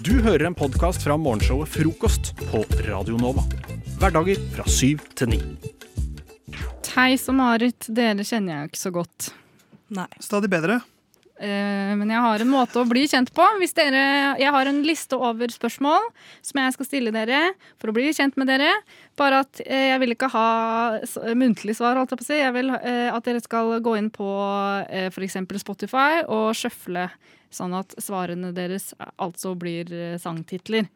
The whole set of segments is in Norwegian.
Du hører en podkast fra morgenshowet Frokost på Radio Nova. Hverdager fra syv til ni. Theis og Marit, dere kjenner jeg jo ikke så godt. Nei. Stadig bedre. Eh, Men jeg har en måte å bli kjent på. Hvis dere, jeg har en liste over spørsmål som jeg skal stille dere for å bli kjent med dere. Bare at eh, jeg vil ikke ha s- eh, muntlig svar. Holdt jeg, på å si. jeg vil eh, at dere skal gå inn på f.eks. Spotify og sjøfle, sånn at svarene deres altså blir eh, sangtitler.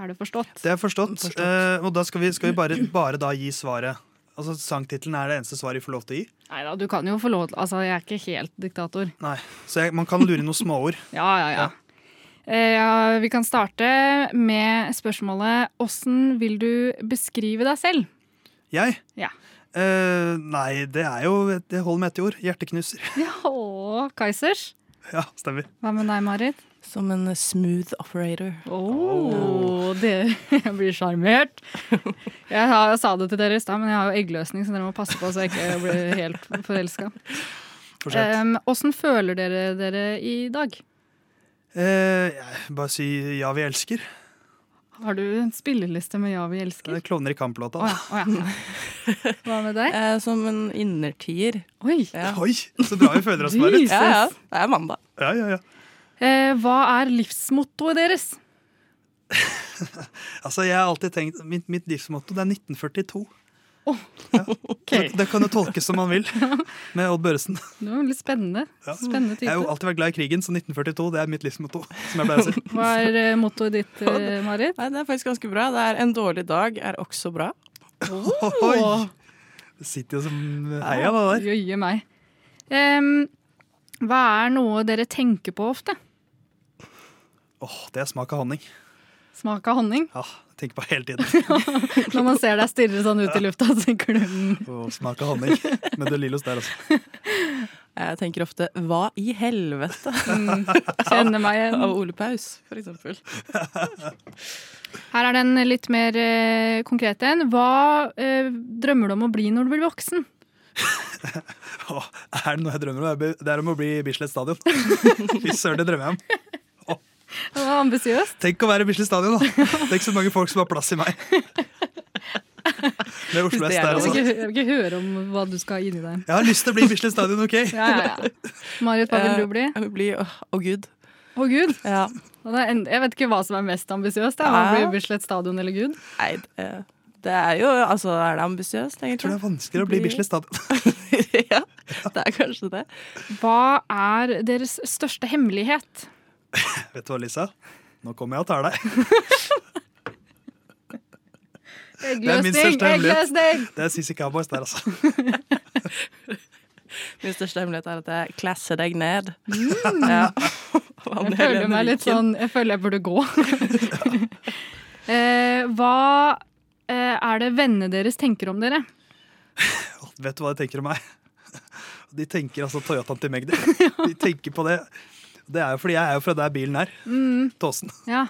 Er det forstått? Det er forstått. Forstått. Eh, og da skal vi, skal vi bare, bare da gi svaret. Altså Sangtittelen er det eneste svaret vi får lov til å gi. Nei da, du kan jo få lov til Altså, jeg er ikke helt diktator. Nei, Så jeg, man kan lure inn noen småord. Ja, ja, ja. Eh, ja. Vi kan starte med spørsmålet Åssen vil du beskrive deg selv? Jeg? Ja. Eh, nei, det er jo Det holder med ett ord. Hjerteknuser. Ja, å, Kaizers. Ja, stemmer. Hva med deg, Marit? Som en smooth operator. Å, det- Jeg blir sjarmert. Jeg, har- jeg sa det til dere i stad, men jeg har jo eggløsning, så dere må passe på så jeg ikke blir helt forelska. For sent. Åssen føler dere dere i dag? Eh, jeg bare si ja, vi elsker. Har du en spilleliste med Ja, vi Det er elsker? Klovner i kamp-låta. Å ja, å ja. Hva med deg? Eh, som en innertier. Oi. Ja. Oi, så bra vi føler oss, Marit. Jesus. ja, ja. Det er mandag. Ja, ja, ja. Eh, hva er livsmottoet deres? Altså, jeg har alltid tenkt, Mitt, mitt livsmotto det er 1942. Okay. Det kan jo tolkes som man vil, med Odd Børresen. Det var veldig spennende. Ja. Spennende Jeg har jo type. alltid vært glad i krigen, så 1942 det er mitt livsmotto. som jeg pleier å si. Hva er eh, mottoet ditt, eh, Marit? Nei, det er faktisk ganske bra. Det er En dårlig dag er også bra. Oh! Oi! Det sitter jo som heia, det der. Jøye meg. Em, hva er noe dere tenker på ofte? Åh, Det er smak av honning. Smak av honning? Ja, jeg tenker på hele tiden. Når man ser deg stirre sånn ut i lufta, så tenker du mm. Åh, smak av honning. Men det er Lillos der, altså. Jeg tenker ofte 'hva i helvete' Mm. Kjenner meg igjen. av Ole Paus, for eksempel. Her er den litt mer eh, konkret en. Hva eh, drømmer du om å bli når du blir voksen? Åh, er det noe jeg drømmer om? Det er- Det er om å bli Bislett Stadion. Fy søren, det drømmer jeg om. Det var ambisiøst. Tenk å være Bislett Stadion, da. Det er ikke så mange folk som har plass i meg. Det er Oslo Det er S der, Jeg, vil altså. ikke- jeg vil ikke høre om hva du skal ha inni deg. Jeg har lyst til å bli Bislett Stadion, OK? Ja, ja, ja. Marit, hva vil du bli? Eh, Jeg vil bli Å, å, gud. Å, gud! Ja. Og det er en- Jeg vet ikke hva som er mest ambisiøst. det er Om det Ja. blir Bislett stadion eller Gud. Nei, det, det er jo Altså, er det ambisiøst, Jeg tror egentlig? det er vanskeligere å bli Bislett Stadion. ja, det er kanskje det. Hva er deres største hemmelighet? Vet du hva, Lisa? Nå kommer jeg og tar deg. Eh, er min største hemmelighet. eggløsning! Det er CC Cowboys der, altså. Min største hemmelighet er at jeg klasser deg ned. Ja. Mm. Jeg føler meg litt sånn Jeg føler jeg burde gå. eh, hva eh, er det vennene deres tenker om dere? Vet du hva de tenker om meg? De tenker altså Toyotaen til Magdi. De tenker på det. Det er jo fordi jeg er jo fra der bilen er. Tåsen, Mm, Ja.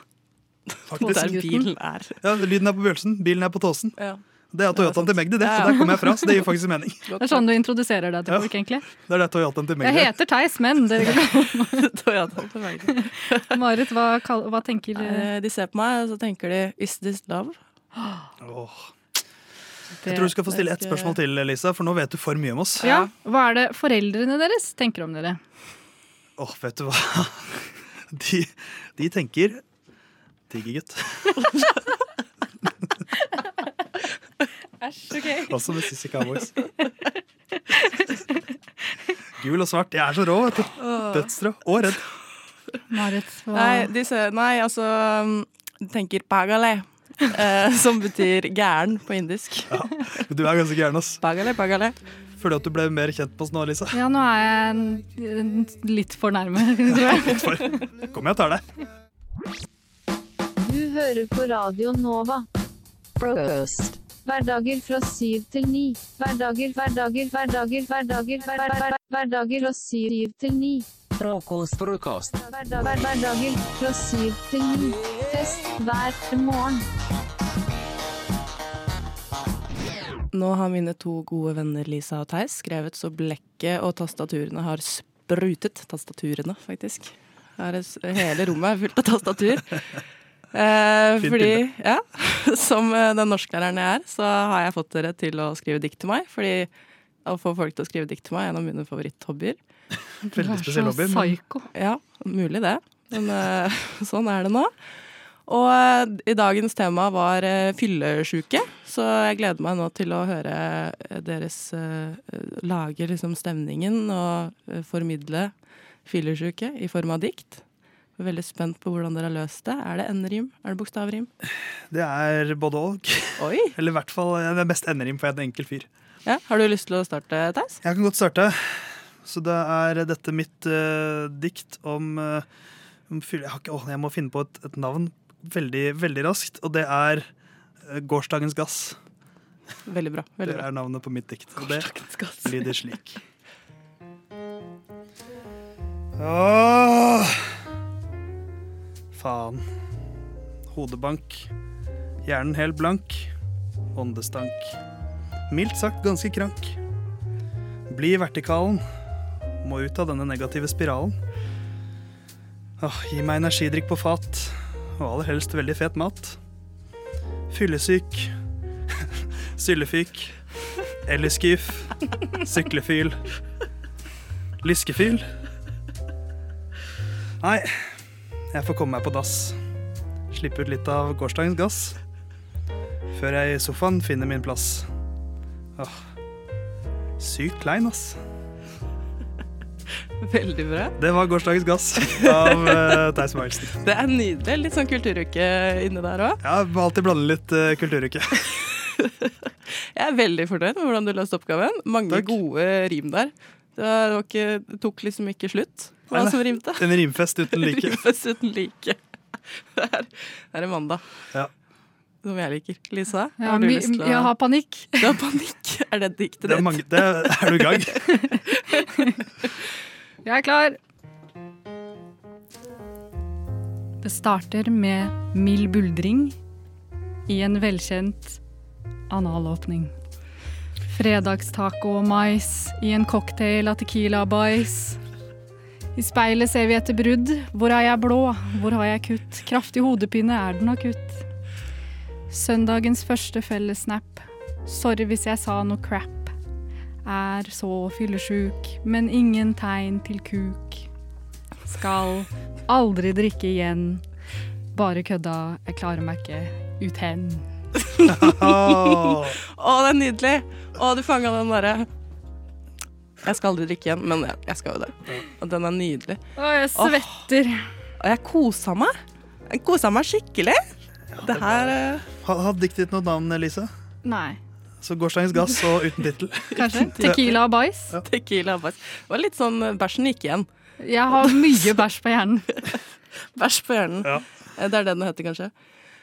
faktisk. Der bilen er. Ja, lyden er på Bjølsen, bilen er på Tåsen. Ja. Det er Toyotaen til Magdi, det. Så der kommer jeg fra, så det gir faktisk mening. Det er sånn du introduserer deg til folk, egentlig. Det er der Toyotaen til Jeg Magdi. er. heter Theis, men dere kan Toyota til Magdi. Marit, hva, kall- hva tenker eh, Eh, De ser på meg, og så tenker de 'is this love'? Åh. Jeg tror du det? skal få stille ett spørsmål til, Lisa, for nå vet du for mye om oss. Ja, hva er det foreldrene deres tenker om dere? Åh, vet du hva? De, de tenker Digge gutt. Æsj, ok. Altså, Også med Sissy Cowboys. Gul og svart. Jeg er så rå, vet du. Dødsrå og redd. Marit, hva Nei, de ser, nei altså um, De tenker 'pagale', eh, som betyr gæren på indisk. Du er ganske gæren, ass. Pagale, pagale. Føler du at du ble mer kjent med oss nå, Lisa? Ja, nå er jeg en- en- litt for nærme, tror jeg. Kom, jeg tar deg. Du hører på Radio Nova. Frokost. Hverdager fra syv til ni. Hverdager, hverdager, hverdager, hverdager, hver- hver- hver- hverdager fra syv til ni. Frokost, frokost. Hverdag- hver- Hverdager fra syv til ni. Fest hver morgen. Nå har mine to gode venner Lisa og Theis skrevet så blekket og tastaturene har sprutet. Tastaturene, faktisk. Her er s- hele rommet er fullt av tastatur. Eh, Fint fordi, ja, som eh, den norsklæreren jeg er, så har jeg fått dere til å skrive dikt til meg. Fordi å få folk til å skrive dikt til meg er en av mine favoritthobbyer. Veldig spesiell hobby. men- psyko. Ja, mulig det. Men eh, sånn er det nå. Og eh, i dagens tema var uh, fyllesjuke, så jeg gleder meg nå til å høre eh, deres eh, lage liksom stemningen og eh, formidle fyllesjuke i form av dikt. Jeg er Veldig spent på hvordan dere har løst det. Er det enderim? Er det bokstavrim? Det er både og. Oi! Eller i hvert fall eh, det er mest enderim for jeg er en enkel fyr. Ja, har du lyst til å starte, Theis? Jeg kan godt starte. Så det er dette mitt eh, dikt om, eh, om fyll... Jeg, har ikke, åh, jeg må finne på et, et navn veldig, veldig raskt, og det er eh, Gårsdagens gass. Veldig bra. Det veldig bra. er navnet på mitt dikt. Og det lyder slik. Åh, faen. Hodebank. Hjernen helt blank. Åndestank. Mildt sagt ganske krank. Bli i vertikalen. Må ut av denne negative spiralen. Åh, gi meg energidrikk på fat, og aller helst veldig fet mat. Fyllesyk. Syllefyk. Elliskyf. Syklefyl. Lyskefyl. Nei, jeg får komme meg på dass. Slippe ut litt av gårsdagens gass. Før jeg i sofaen finner min plass. Åh. Sykt klein, ass. Veldig bra. Det var gårsdagens gass av uh, Theis Magelsen. Det er nydelig. Litt sånn kulturuke inni der òg. Jeg må alltid blande litt eh, kulturuke. Jeg er veldig fornøyd med hvordan du løste oppgaven. Mange Takk. gode rim der. Det, var ikke, det tok liksom ikke slutt, hva Nei, nei. som rimte. En rimfest uten like. Rimes uten like. Det er, det er en mandag. Ja. Som jeg liker. Lisa, Ja, har du my- lyst til å Jeg har panikk. Du har panikk? Er det diktet Det er, ditt? mange, det er du i gang? Jeg er klar. Det starter med mild buldring i en velkjent analåpning. Fredagstaco og mais i en cocktail av tequila og bais. I speilet ser vi etter brudd. Hvor er jeg blå? Hvor har jeg kutt? Kraftig hodepine, er den akutt? Søndagens første fellessnap. Sorry hvis jeg sa noe crap er så fyllesjuk, men ingen tegn til kuk. Skal aldri drikke igjen. Bare kødda, jeg klarer meg ikke ut hen. Åh. Å, det er nydelig! Å, du fanga den derre Jeg skal aldri drikke igjen, men jeg, jeg skal jo det. Og den er nydelig. Å, jeg svetter. Og jeg kosa meg. Jeg kosa meg skikkelig. det her eh, Hadde hadde diktet ditt noe navn, Lise? Nei, Så gårsdagens gass og uten tittel. kanskje. Tequila og bæsj. Tequila Abbas. Det var litt sånn eh, Bæsjen gikk igjen. Jeg har mye bæsj på hjernen. Bæsj på hjernen. Ja. Eh, Det er det den heter, kanskje.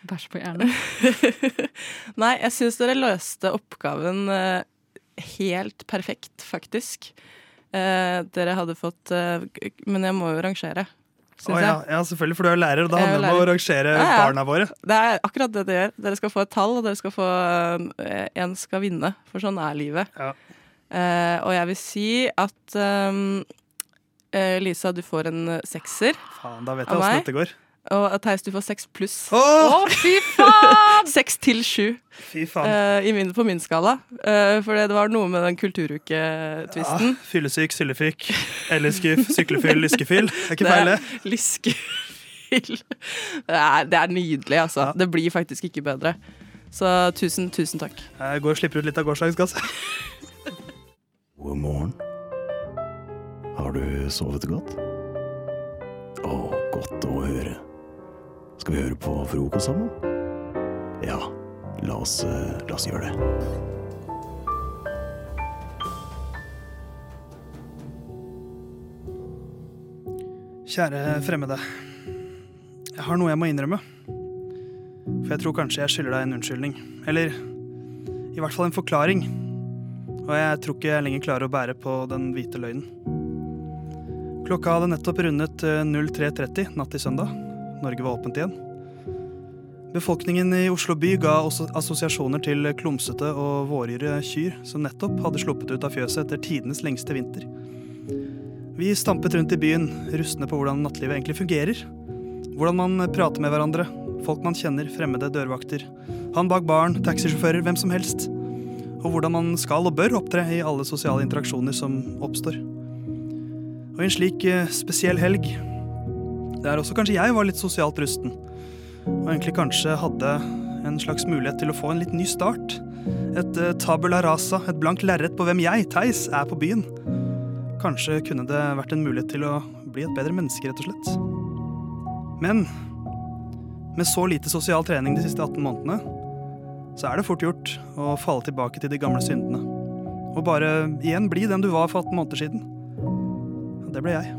Bæsj på hjernen. Nei, jeg syns dere løste oppgaven eh, helt perfekt, faktisk. Eh, dere hadde fått eh, g- Men jeg må jo rangere, syns Å, ja, ja, selvfølgelig, for du er jo lærer, og det Jeg er jo handler om å Eh, lærer. rangere Ja, ja. barna våre. jeg. Det er akkurat det det gjør. Dere skal få et tall, og dere skal få eh, En skal vinne, for sånn er livet. Ja. Eh, og jeg vil si at ehm, eh, Lisa, du får en eh, sekser. Faen, da vet Av jeg åssen meg? dette går. Og eh, Theis, du får seks pluss. Å, Å, fy faen! Seks til sju. fy faen. Eh, i min, på min skala. Eh, for det var noe med den kulturuketwisten. Ja, Ah, fyllesyk, syllefyk, elleskyf, syklefyll, lyskefyll. Det er ikke feil, det. det. Lyskefil. Det er, det er nydelig, altså. Ja. Det blir faktisk ikke bedre. Så tusen, tusen takk. Jeg går og slipper ut litt av gårsdagens gass. God morgen. Har du sovet godt? Å, godt å høre. Skal vi høre på frokost sammen? Ja, la oss, eh, la oss gjøre det. Kjære fremmede. Jeg har noe jeg må innrømme. For jeg tror kanskje jeg skylder deg en unnskyldning. Eller i hvert fall en forklaring. Og jeg tror ikke jeg lenger klarer å bære på den hvite løgnen. Klokka hadde nettopp rundet eh, 03.30 natt til søndag. Norge var åpent igjen. Befolkningen i Oslo by ga også assosiasjoner til klumsete og våryre kyr som nettopp hadde sluppet ut av fjøset etter tidenes lengste vinter. Vi stampet rundt i byen, rustne på hvordan nattlivet egentlig fungerer. Hvordan man prater med hverandre, folk man kjenner, fremmede dørvakter. Han bak baren, taxisjåfører, hvem som helst. Og hvordan man skal og bør opptre i alle sosiale interaksjoner som oppstår. Og i en slik eh, spesiell helg, der også kanskje jeg var litt sosialt rusten, og egentlig kanskje hadde en slags mulighet til å få en litt ny start. Et eh, tabula rasa, et blankt lerret på hvem jeg, Theis, er på byen. Kanskje kunne det vært en mulighet til å bli et bedre menneske, rett og slett. Men med så lite sosial trening de siste 18 månedene, så er det fort gjort å falle tilbake til de gamle syndene. Og bare igjen bli den du var for 18 måneder siden. Og Det ble jeg.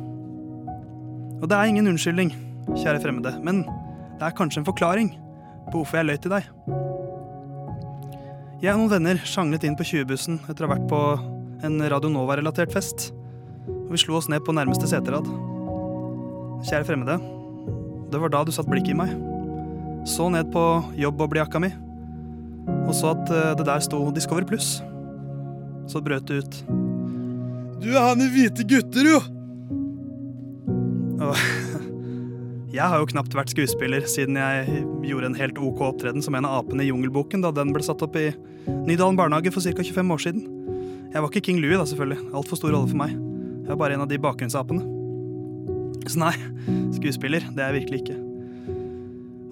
Og det er ingen unnskyldning, kjære fremmede, men det er kanskje en forklaring på hvorfor jeg løy til deg. Jeg og noen venner sjanglet inn på 20-bussen etter å ha vært på en Radio Nova-relatert fest, og vi slo oss ned på nærmeste seterad. Kjære fremmede, det var da du satt blikket i meg. Så ned på jobb og jakka mi, og så at eh, det der sto Discover Pluss. Så brøt det ut. Du er han i hvite gutter, jo! Og jeg har jo knapt vært skuespiller siden jeg gjorde en helt ok opptreden som en av apene i Jungelboken da den ble satt opp i Nydalen barnehage for ca. 25 år siden. Jeg var ikke King Louie da, selvfølgelig. Altfor stor rolle for meg. Jeg var bare en av de bakgrunnsapene. Så nei, skuespiller, det er jeg virkelig ikke.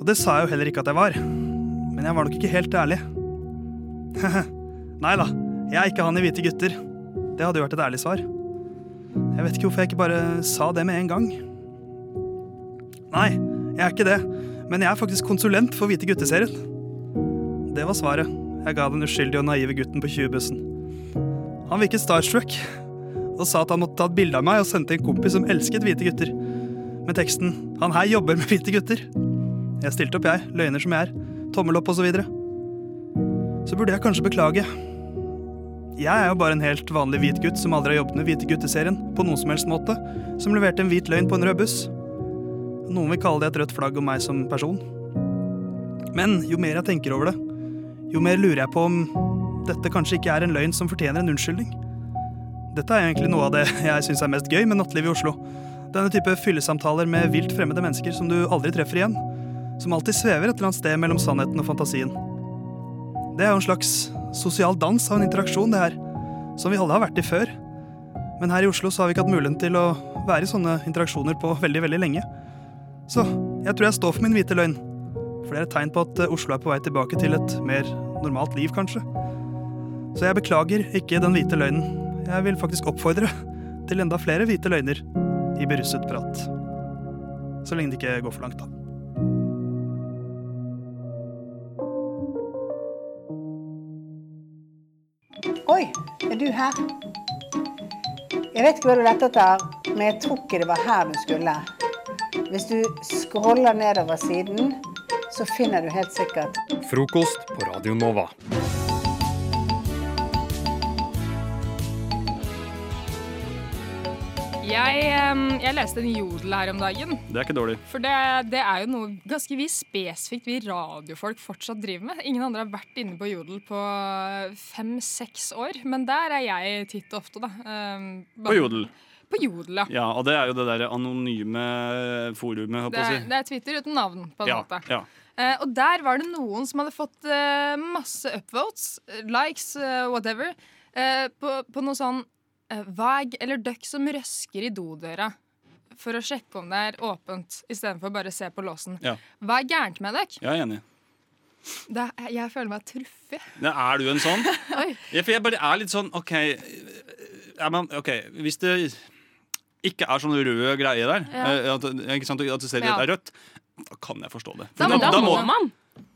Og det sa jeg jo heller ikke at jeg var. Men jeg var nok ikke helt ærlig. nei da, jeg er ikke han i Hvite gutter. Det hadde jo vært et ærlig svar. Jeg vet ikke hvorfor jeg ikke bare sa det med en gang. Nei, jeg er ikke det, men jeg er faktisk konsulent for Hvite gutteserien. Det var svaret jeg ga den uskyldige og naive gutten på 20-bussen. Han virket starstruck og sa at han måtte ta et bilde av meg og sende til en kompis som elsket hvite gutter, med teksten 'Han her jobber med hvite gutter'. Jeg stilte opp, jeg, løgner som jeg er, tommel opp og Så, videre. så burde jeg kanskje beklage. Jeg er jo bare en helt vanlig hvit gutt som aldri har jobbet med Hvite gutteserien på noen som helst måte, som leverte en hvit løgn på en rød buss. Noen vil kalle det et rødt flagg om meg som person. Men jo mer jeg tenker over det, jo mer lurer jeg på om dette kanskje ikke er en løgn som fortjener en unnskyldning. Dette er egentlig noe av det jeg syns er mest gøy med nattlivet i Oslo. Denne type fyllesamtaler med vilt fremmede mennesker som du aldri treffer igjen. Som alltid svever et eller annet sted mellom sannheten og fantasien. Det er jo en slags sosial dans av en interaksjon, det her. Som vi alle har vært i før. Men her i Oslo så har vi ikke hatt muligheten til å være i sånne interaksjoner på veldig, veldig lenge. Så jeg tror jeg står for min hvite løgn. For det er et tegn på at eh, Oslo er på vei tilbake til et mer normalt liv, kanskje. Så jeg beklager ikke den hvite løgnen. Jeg vil faktisk oppfordre til enda flere hvite løgner i beruset prat. Så lenge det ikke går for langt, da. Oi, er du her? Jeg vet ikke hva du lette etter, men jeg tror ikke det var her du skulle. Hvis du scroller nedover siden, så finner du helt sikkert Frokost på Radio Nova. Jeg, em, jeg leste en jodel her om dagen. Det er ikke dårlig. For det, det er jo noe ganske vi spesifikt vi radiofolk fortsatt driver med. Ingen andre har vært inne på jodel på eh, fem-seks år. Men der er jeg titt og ofte, da. Em, På bare- Jodel. På jodel, ja. Ja, og det er jo det der anonyme forumet, holdt Det jeg på å er, si. det er Twitter uten navn, på en ja, måte. ja. Eh, og der var det noen som hadde fått eh, masse upvotes, eh, likes, eh, whatever, eh, på, på noe sånn eh, vag eller døkk som røsker i dodøra. For å sjekke om det er åpent, istedenfor bare å se på låsen. Ja. Hva er gærent med dere? Jeg er enig. Det er- Jeg føler meg truffet. Men er du en sånn? Oi. Ja, for jeg bare er litt sånn OK, er man, ok, Hvis det ikke er sånn rød greie der, Ja. eh, at, ikke sant, at du ser Ja. at det er rødt, da kan jeg forstå det. Da må- da må man.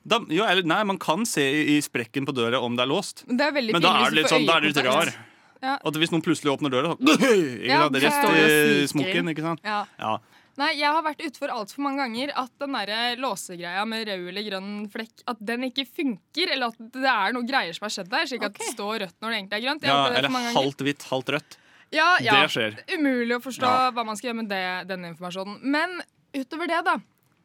Da, jo, eller, nei, man kan se i, i sprekken på døra om det er låst. Men det er veldig Men da pinlig er det litt hvis du sånn, da får er det litt rar. øyekontakt. Ja. At hvis noen plutselig åpner døra, så ikke Ja, sant, det står rett og i sniker inn. smokken. Ikke sant? Ja. Ja. Nei, jeg har vært utfor altfor mange ganger at den der eh, låsegreia med rød eller grønn flekk At den ikke funker, eller at det er noe greier som har skjedd der. Slik at det står rødt når det egentlig er grønt. Jeg Ja, har opplevd det for eller mange ganger. halvt hvitt, halvt rødt. ja, ja. Det skjer. Umulig å forstå Ja. hva man skal gjøre med det, den informasjonen. Men utover det, da,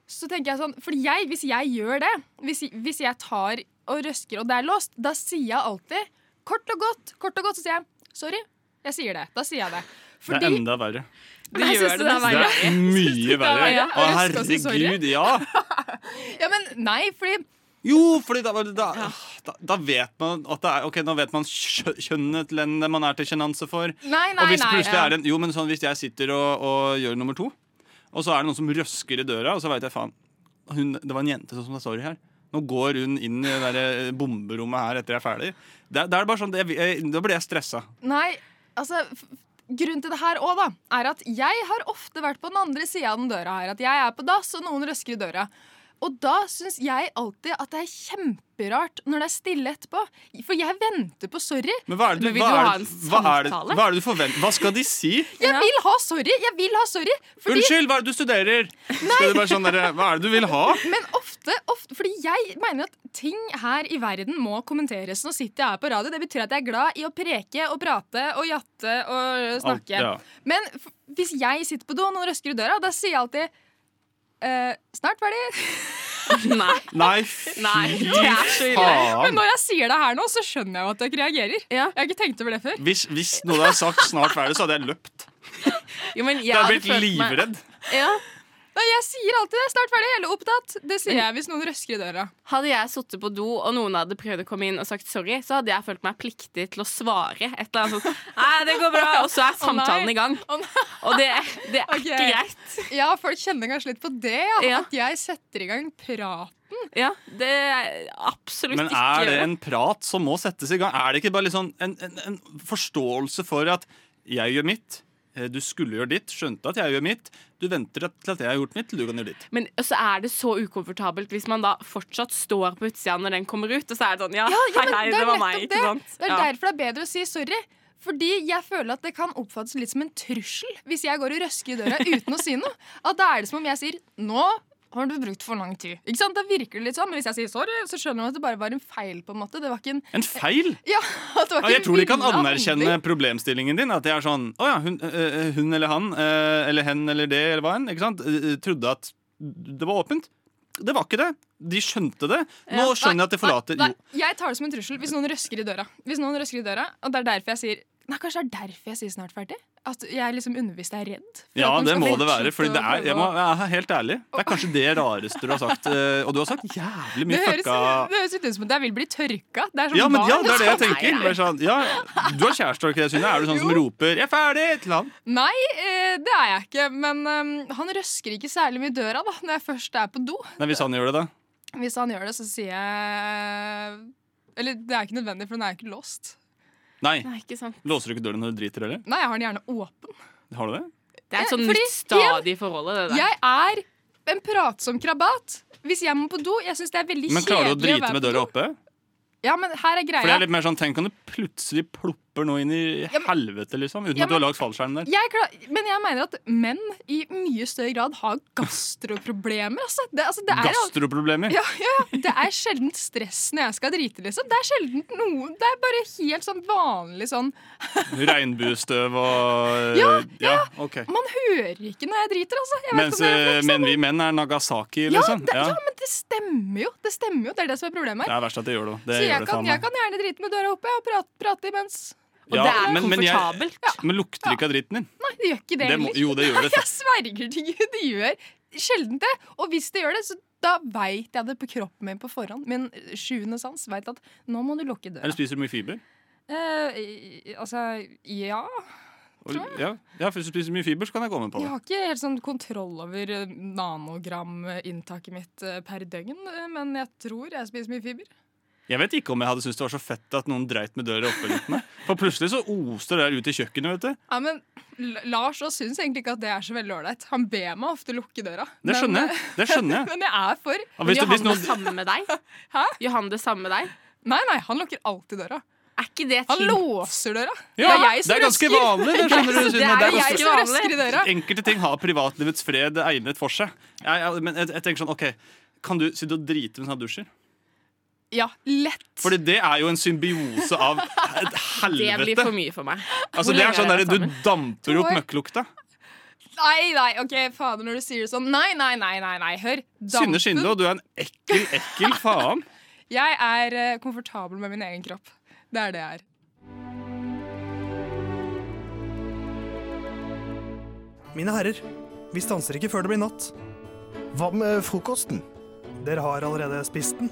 så tenker jeg sånn For jeg, hvis jeg gjør det, hvis, hvis jeg tar og røsker og det er låst, da sier jeg alltid kort og godt, kort og godt, så sier jeg sorry. Jeg sier det. Da sier jeg det. Det er enda verre. De Nei, jeg gjør synes det det er beste. verre. Det er mye verre. verre? Å, Jeg husker også, sorry. herregud, ja. Ja, men nei, fordi Jo, fordi da, var det- da, da, da vet man at det er Ok, nå vet man kjø- kjønnet til den man er til sjenanse for. Nei, nei, og hvis det nei, plutselig ja. er en Jo, men sånn hvis jeg sitter og, og gjør nummer to, og så er det noen som røsker i døra, og så veit jeg faen hun, Det var en jente som sa sorry her. Nå går hun inn i det der eh, bomberommet her etter jeg er ferdig. Det, det er bare sånn, det, jeg, Da blir jeg stressa. Nei, altså f- Grunnen til det her òg, da, er at jeg har ofte vært på den andre sida av den døra her. At jeg er på dass, og noen røsker i døra. Og da syns jeg alltid at det er kjemperart når det er stille etterpå. For jeg venter på sorry. Men hva er det, Men du- vil hva du ha er det, en hva er det, samtale? hva er det du forventer? Hva skal de si? Jeg vil ha sorry! Jeg vil ha sorry! Fordi Unnskyld, hva er det du studerer? Skal du bare sånn der, Hva er det du vil ha? Men ofte, ofte Fordi jeg mener at ting her i verden må kommenteres. Nå sitter jeg her på radio. Det betyr at jeg er glad i å preke og prate og jatte og snakke. Alt, ja. Men f hvis jeg sitter på do og noen røsker i døra, da sier jeg alltid eh, 'Snart ferdig'. Nei. Nei, fy Men faen! når jeg sier det her nå, så skjønner jeg jo at dere reagerer. Jeg har ikke tenkt over det før. Hvis, hvis noen hadde sagt 'snart ferdig', så hadde jeg løpt. Jo, men jeg Jeg hadde hadde blitt følt meg- livredd. Ja. Nei, jeg sier alltid det. 'Snart ferdig', eller 'opptatt'. Det sier Men- jeg hvis noen røsker i døra. Hadde jeg sittet på do, og noen hadde prøvd å komme inn og sagt sorry, så hadde jeg følt meg pliktig til å svare et eller annet sånt. Nei, det går bra. Og så Å, er nei. samtalen i gang. Å, nei. Og det, det er Ok. ikke greit. Ja, folk kjenner kanskje litt på det. Ja. Ja. At jeg setter i gang praten. Ja, det er absolutt Men ikke er det en prat som må settes i gang? Er det ikke bare litt sånn en, en, en forståelse for at jeg gjør mitt, eh, du skulle gjøre ditt, skjønte at jeg gjør mitt, du venter at- til at jeg har gjort mitt, til du kan gjøre ditt. Men så er det så ukomfortabelt hvis man da fortsatt står på utsida når den kommer ut, og så er det sånn Ja, hei, hei, det, var meg, ikke sant? Det er Ja. derfor det er bedre å si sorry. Fordi jeg føler at det kan oppfattes litt som en trussel hvis jeg går og røsker i døra uten å si noe. At da er det som om jeg sier 'nå har du brukt for lang tid'. Ikke sant? Da virker det litt sånn, Men hvis jeg sier sorry, så skjønner man at det bare var en feil. på en måte. Det var ikke en... En feil? Ja, at det var Ja, ikke jeg en tror de kan villet anerkjenne handling. problemstillingen din. At det er sånn Å ja, hun, øh, øh, hun eller han, øh, eller hen eller det, eller hva enn, ikke sant, øh, øh, trodde at det var åpent. Det var ikke det. De skjønte det. Nå Ja. skjønner jeg at de forlater Nei, jo. jeg tar det som en trussel hvis noen røsker i døra. Hvis noen røsker i døra, Og det er derfor jeg sier Nei, kanskje det er derfor jeg sier snart ferdig. At jeg liksom underbevisst er redd. for Ja, at de det skal må det fortsette være. Fordi å det er, jeg må prøve å- være helt ærlig. Det er kanskje det rareste du har sagt. øh, Og du har sagt jævlig det mye høres, fucka det høres ut som at jeg vil bli tørka. Det er som Ja, men barn. ja, det er det jeg tenker. Bare sånn, ja, du har kjæreste, har du ikke det, Synne? Er du sånn som roper 'jeg er ferdig' til han? Nei, eh, det er jeg ikke. Men eh, han røsker ikke særlig mye i døra da, når jeg først er på do. Nei, hvis han gjør det, da? Hvis han gjør det, så sier jeg Eller det er ikke nødvendig, for den er ikke låst. Nei. Nei, ikke sant. Låser du ikke døren når du driter, eller? Nei, jeg har den gjerne åpen. Eh, Har du det? Det er et sånn Fordi, nytt stad i forholdet, det der. Jeg er en pratsom krabat. Hvis jeg må på do, jeg syns det er veldig Men klarer du å kjedelig drite være med på døra do. oppe? Ja, men her For er det greia. er litt mer sånn, Tenk om du plutselig plopper noe inn i Ja, men- helvete, liksom. Uten Ja, at du har men- lagd fallskjerm der. Jeg klar, men jeg mener at menn i mye større grad har gastroproblemer. Altså. Det, altså, det er, Gastroproblemer. Ja, ja, ja. Det er sjelden stress når jeg skal drite, liksom. Det er sjelden noe Det er bare helt sånn vanlig sånn Regnbuestøv og Ja, ja, ok. Man hører ikke når jeg driter, altså. Jeg vet Mens, ikke om det er eh, flaks, da, men vi menn er Nagasaki, ja, liksom. det, ja. Ja. men det stemmer jo. Det stemmer jo, Det er det som er problemet Det her. er verst at det gjør det. Så det, gjør jeg det kan, faen jeg meg. kan gjerne drite med døra oppe og prate, prate imens. Ja, men- men jeg- Men lukter det ikke av dritten din? Nei, det gjør ikke det. Det må- heller. jo, det gjør det. Jeg sverger til Gud, det gjør sjelden det. Og hvis det gjør det, så da veit jeg det på kroppen min på forhånd. Min sjuende sans veit at nå må du lukke døra. Eller spiser du mye fiber? Eh, i- altså, ja Og, ja. ja, for hvis du spiser mye fiber, så kan jeg komme på Jeg det. har ikke helt sånn kontroll over eh, nanogram-inntaket mitt eh, per døgn, eh, men jeg tror jeg spiser mye fiber. Jeg vet ikke om jeg hadde syntes det var så fett at noen dreit med døra oppe. litt, nei. For plutselig så oste det der ut i kjøkkenet, vet du. Ja, men L- Lars også syns egentlig ikke at det er så veldig ålreit. Han ber meg ofte lukke døra. Det skjønner jeg. Det skjønner jeg. Men jeg er for. Ja, hvis det- hvis noen- samme med deg? Hæ? Gjør han det samme med deg? Nei, nei, han lukker alltid døra. Er ikke det Han låser døra. Ja, jeg det som er ganske røsker. vanlig. Det skjønner du. Det er, Synne. jeg som røsker i døra. Enkelte ting har privatlivets fred egnet for seg. Jeg, jeg, men jeg, jeg tenker sånn, ok, Kan du sitte og drite mens han dusjer? Ja, lett. Fordi det er jo en symbiose av et Det helvete. blir for mye for meg. Altså, Hvor det lenge er sånn har der, dere Du vært damper opp To år. møkklukta. Nei, nei, ok, fader, når du sier det sånn. Nei, nei, nei, nei, nei, hør. Synne Skinde, og du er en ekkel, ekkel faen. Jeg er eh, komfortabel med min egen kropp. Det er det jeg er. Mine herrer, vi stanser ikke før det blir natt. Hva med frokosten? Dere har allerede spist den.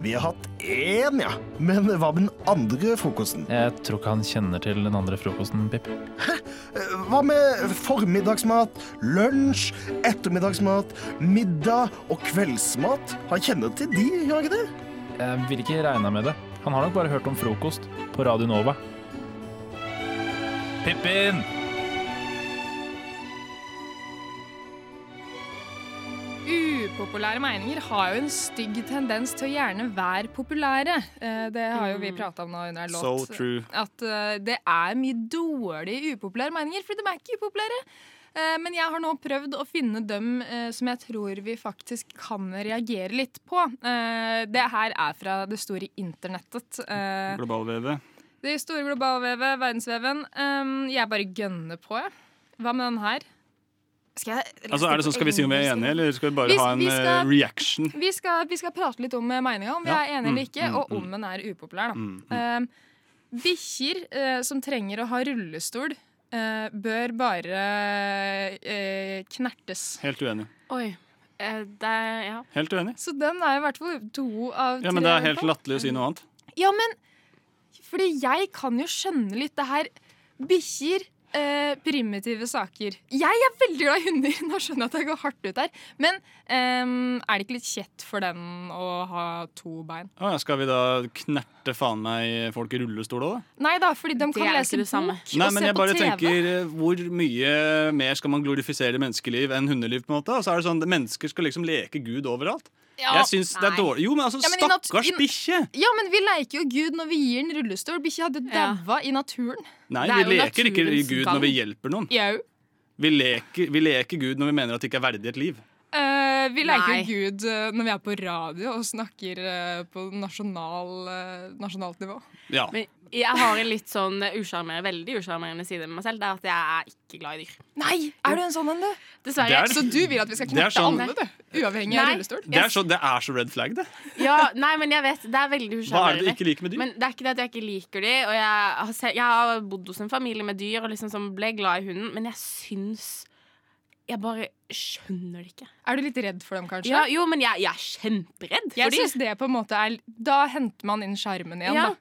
Vi har hatt én, ja. Men hva med den andre frokosten? Jeg tror ikke han kjenner til den andre frokosten, Pip. Eh, Hva med formiddagsmat, lunsj, ettermiddagsmat, middag og kveldsmat? Han kjenner til de, gjør han ikke det? Jeg vil ikke regne med det. Han har nok bare hørt om frokost på Radio Nova. Pippin! Upopulære meninger har jo en stygg tendens til å gjerne være populære. Eh, Det har jo vi prata om nå under en Mm. låt. So true. At eh, det er mye dårlige upopulære meninger, for de er ikke upopulære. Eh, Men jeg har nå prøvd å finne dem eh, som jeg tror vi faktisk kan reagere litt på. Eh, Det her er fra det store internettet. Eh, Globalvevet. Det store globalvevet, verdensveven. Um, jeg bare gønner på, jeg. Hva med den her? Skal jeg lese Altså, er det på sånn, Skal vi si om vi er engelsk? enige, eller skal vi bare Vi- ha en vi skal- eh, reaction? Vi skal, vi skal prate litt om eh, meninga, om vi Ja. er enige eller Mm, ikke, mm, og mm. om den er upopulær. da. Mm, Um, Bikkjer eh, som trenger å ha rullestol, eh, bør bare eh, knertes. Helt uenig. Oi. Eh, det er, ja. Helt uenig. Så den er i hvert fall to av Ja, men Det tre er helt på. latterlig å si noe annet. Ja, men Fordi jeg kan jo skjønne litt det her. Bikkjer, eh, primitive saker. Jeg er veldig glad i hunder. Nå skjønner jeg at jeg går hardt ut her. Men ehm, er det ikke litt kjett for den å ha to bein? Å, ja, skal vi da knerte faen meg folk i rullestol òg, da? Nei da, fordi de er kan jo lese ikke det bok samme. Nei, og men se jeg på bare TV. tenker eh, Hvor mye mer skal man glorifisere menneskeliv enn hundeliv? på en måte? Og så er det sånn, Mennesker skal liksom leke Gud overalt. Ja, jeg synes det er nei. dårlig Jo, men altså, Ja, men i nat- stakkars i- bikkje! Ja, men vi leker jo Gud når vi gir den rullestol. Bikkja hadde daua i naturen. Nei, Det er vi jo leker ikke naturens Gud gang. når vi hjelper noen. Jau. Vi leker, vi leker Gud når vi mener at det ikke er verdig et liv. Eh, vi leker Nei. jo Gud eh, når vi er på radio og snakker eh, på nasjonal, eh, nasjonalt nivå. Ja. Men jeg har en litt sånn usjarmerende, veldig usjarmerende side med meg selv. Det er at jeg er ikke glad i dyr. Nei! Er du en sånn en, du? Dessverre. Det er- Så du vil at vi skal Det er knerte sånn- alle, du? Uavhengig av Nei. rullestol? Det er så, det er så red flag, det. Ja, nei, men jeg vet, Det er veldig usjarmerende. Hva er det du ikke liker med dyr? Men det er ikke det at jeg ikke liker de, og jeg har, se- jeg har bodd hos en familie med dyr og liksom som ble glad i hunden, men jeg syns Jeg bare skjønner det ikke. Er du litt redd for dem, kanskje? Ja, jo, men jeg, jeg er kjemperedd. Jeg fordi- synes det på en måte er Da henter man inn sjarmen igjen, Ja. da.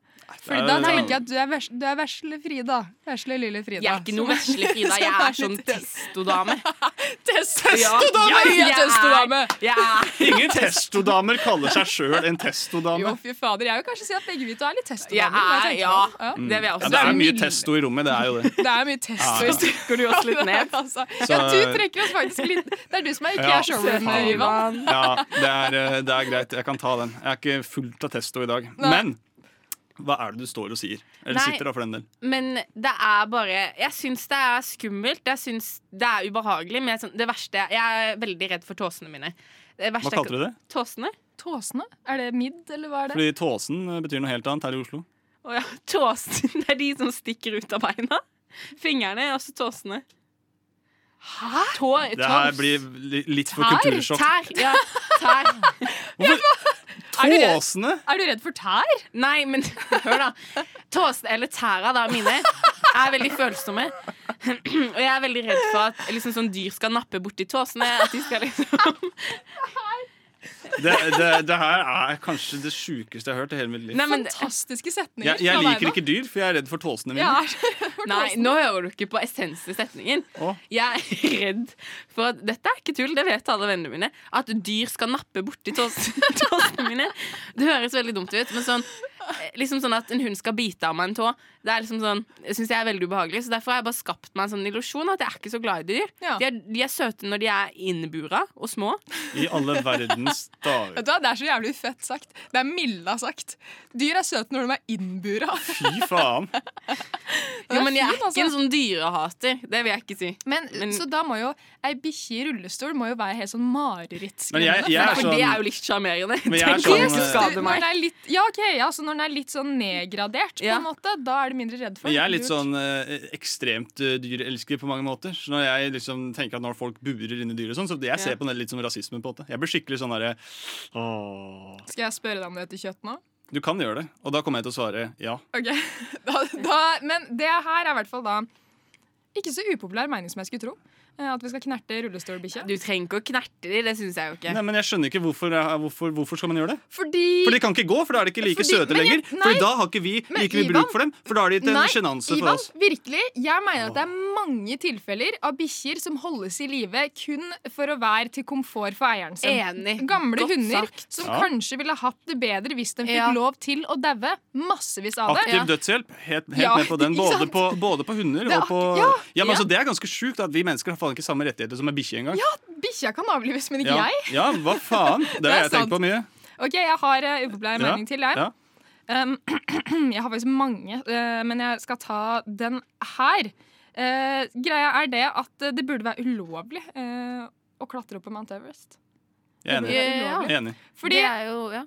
Fordi da Nei, men- tenker jeg at du er, vers, du er vesle Frida. Vesle lille Frida. Jeg er ikke noe Som- vesle Frida, jeg som er sånn litt- testodame. Testodame! Hun Ja, er jeg testodame! Jeg er Ingen testodamer kaller seg sjøl en testodame. Å, fy fader. Jeg vil kanskje si at begge vi to er litt Jeg testodamer. når er, jeg tenker sånn, ja, på det. det vil jeg Mm. Ja, også det er si. mye testo i rommet, det er jo det. Det er mye test, Ja, og ja. vi stikker du oss litt ned. altså. Så- Ja, du trekker oss faktisk litt Det er du som er ikke Ja, er showrunner, faen. Ivan. Ja, det er, eh, det er greit. Jeg kan ta den. Jeg er ikke fullt av testo i dag. Nei. Men hva er det du står og sier? Eller Nei. sitter, da, for den del. Men det er bare Jeg syns det er skummelt. Jeg syns det er ubehagelig. Men jeg, syns- det verste Jeg er veldig redd for tåsene mine. Det verste Hva kalte du det? Tåsene? Tåsene? Er det midd, eller hva er det? Fordi tåsen eh, betyr noe helt annet her i Oslo. Å ja, tåsene. Det er de som stikker ut av beina. Fingrene, og så tåsene. Hæ? Tå, Det her tås. blir li- litt for Tær? kultursjokk. Tær, ja, tær. Er du redd? Tåsene? Er du redd for tær? Nei, men hør da. Tåsene, eller tæra da, mine, er veldig følsomme. Og jeg er veldig redd for at liksom, sånn dyr skal nappe borti tåsene. At de skal liksom Det, det, det her er kanskje det sjukeste jeg har hørt i hele mitt liv. Nei, men- Fantastiske setninger. jeg, jeg liker ikke dyr, for jeg er redd for tåsene mine. Nei, nå hører du ikke på essensen i setningen. Å. Jeg er redd for at Dette er ikke tull, det vet alle vennene mine. At dyr skal nappe borti tås- tåsene mine. Det høres veldig dumt ut, men sånn eh, Liksom sånn at en hund skal bite av meg en tå, Det er liksom sånn Det syns jeg er veldig ubehagelig. Så derfor har jeg bare skapt meg en sånn illusjon at jeg er ikke så glad i dyr. De, er, de er søte når de er innbura og små. I alle verdens dager. Vet du hva, Det er så jævlig fett sagt. Det er Milla sagt. Dyr er søte når de er innbura. Fy faen. Jo, men jeg er Fint, altså. ikke en sånn dyrehater. Det vil jeg ikke si. Men, Men- Så da må jo ei bikkje i rullestol må jo være helt sånn Men marerittskremmende. jeg- jeg er For For det sånn- er jo litt sjarmerende. Men jeg er Tenk sånn, hvis du eh, skader Når meg. den er litt, ja, ok, ja, så når den er litt sånn nedgradert, på en måte, da er du mindre redd for Men jeg er litt Lurt. sånn eh, ekstremt eh, dyrelsker på mange måter. Så når jeg liksom tenker at når folk burer inn i dyr og sånn, så jeg ser Ja. på det litt som rasisme. på en måte. Jeg blir skikkelig sånn derre Åh. Skal jeg spørre deg om det heter kjøtt nå? Du kan gjøre det. Og da kommer jeg til å svare ja. Ok, da, da, Men det her er i hvert fall da ikke så upopulær mening som jeg skulle tro. Eh, At vi skal knerte rullestolbikkje. Du trenger ikke å knerte de, det syns jeg jo ikke. Nei, men jeg skjønner ikke hvorfor, eh, hvorfor, hvorfor skal man gjøre det? Fordi For de kan ikke gå, for da er de ikke like Fordi- søte men jeg- lenger. nei. For da har ikke vi Men like mye Ivan- bruk for dem. For da er de til Nei, en sjenanse for Ivan, oss. virkelig. Jeg mener at det er mange tilfeller av bikkjer som holdes i live kun for å være til komfort for eieren sin. Enig. Gamle Godt hunder sagt. som Ja. kanskje ville hatt det bedre hvis de fikk Ja. lov til å daue. Massevis av det. Aktiv dødshjelp, helt, helt Ja, med på den. ikke Både sant? på, både på hunder Det er og på ak- ja, ja, men ja. Altså, Det er ganske sjukt at vi mennesker har faen ikke samme rettigheter som en bikkje engang. Ja, bikkja kan avlives, men ikke ja. jeg. ja, hva faen? Det Det er har jeg sant. tenkt på mye. Ok, jeg har uh, Ja, upopulær mening til deg. ja. Um, jeg har faktisk mange, eh, men jeg skal ta den her. Eh, greia er det at eh, det burde være ulovlig eh, å klatre opp på Mount Everest. Jeg er enig. Jeg Det burde være er ulovlig. enig. Fordi det er,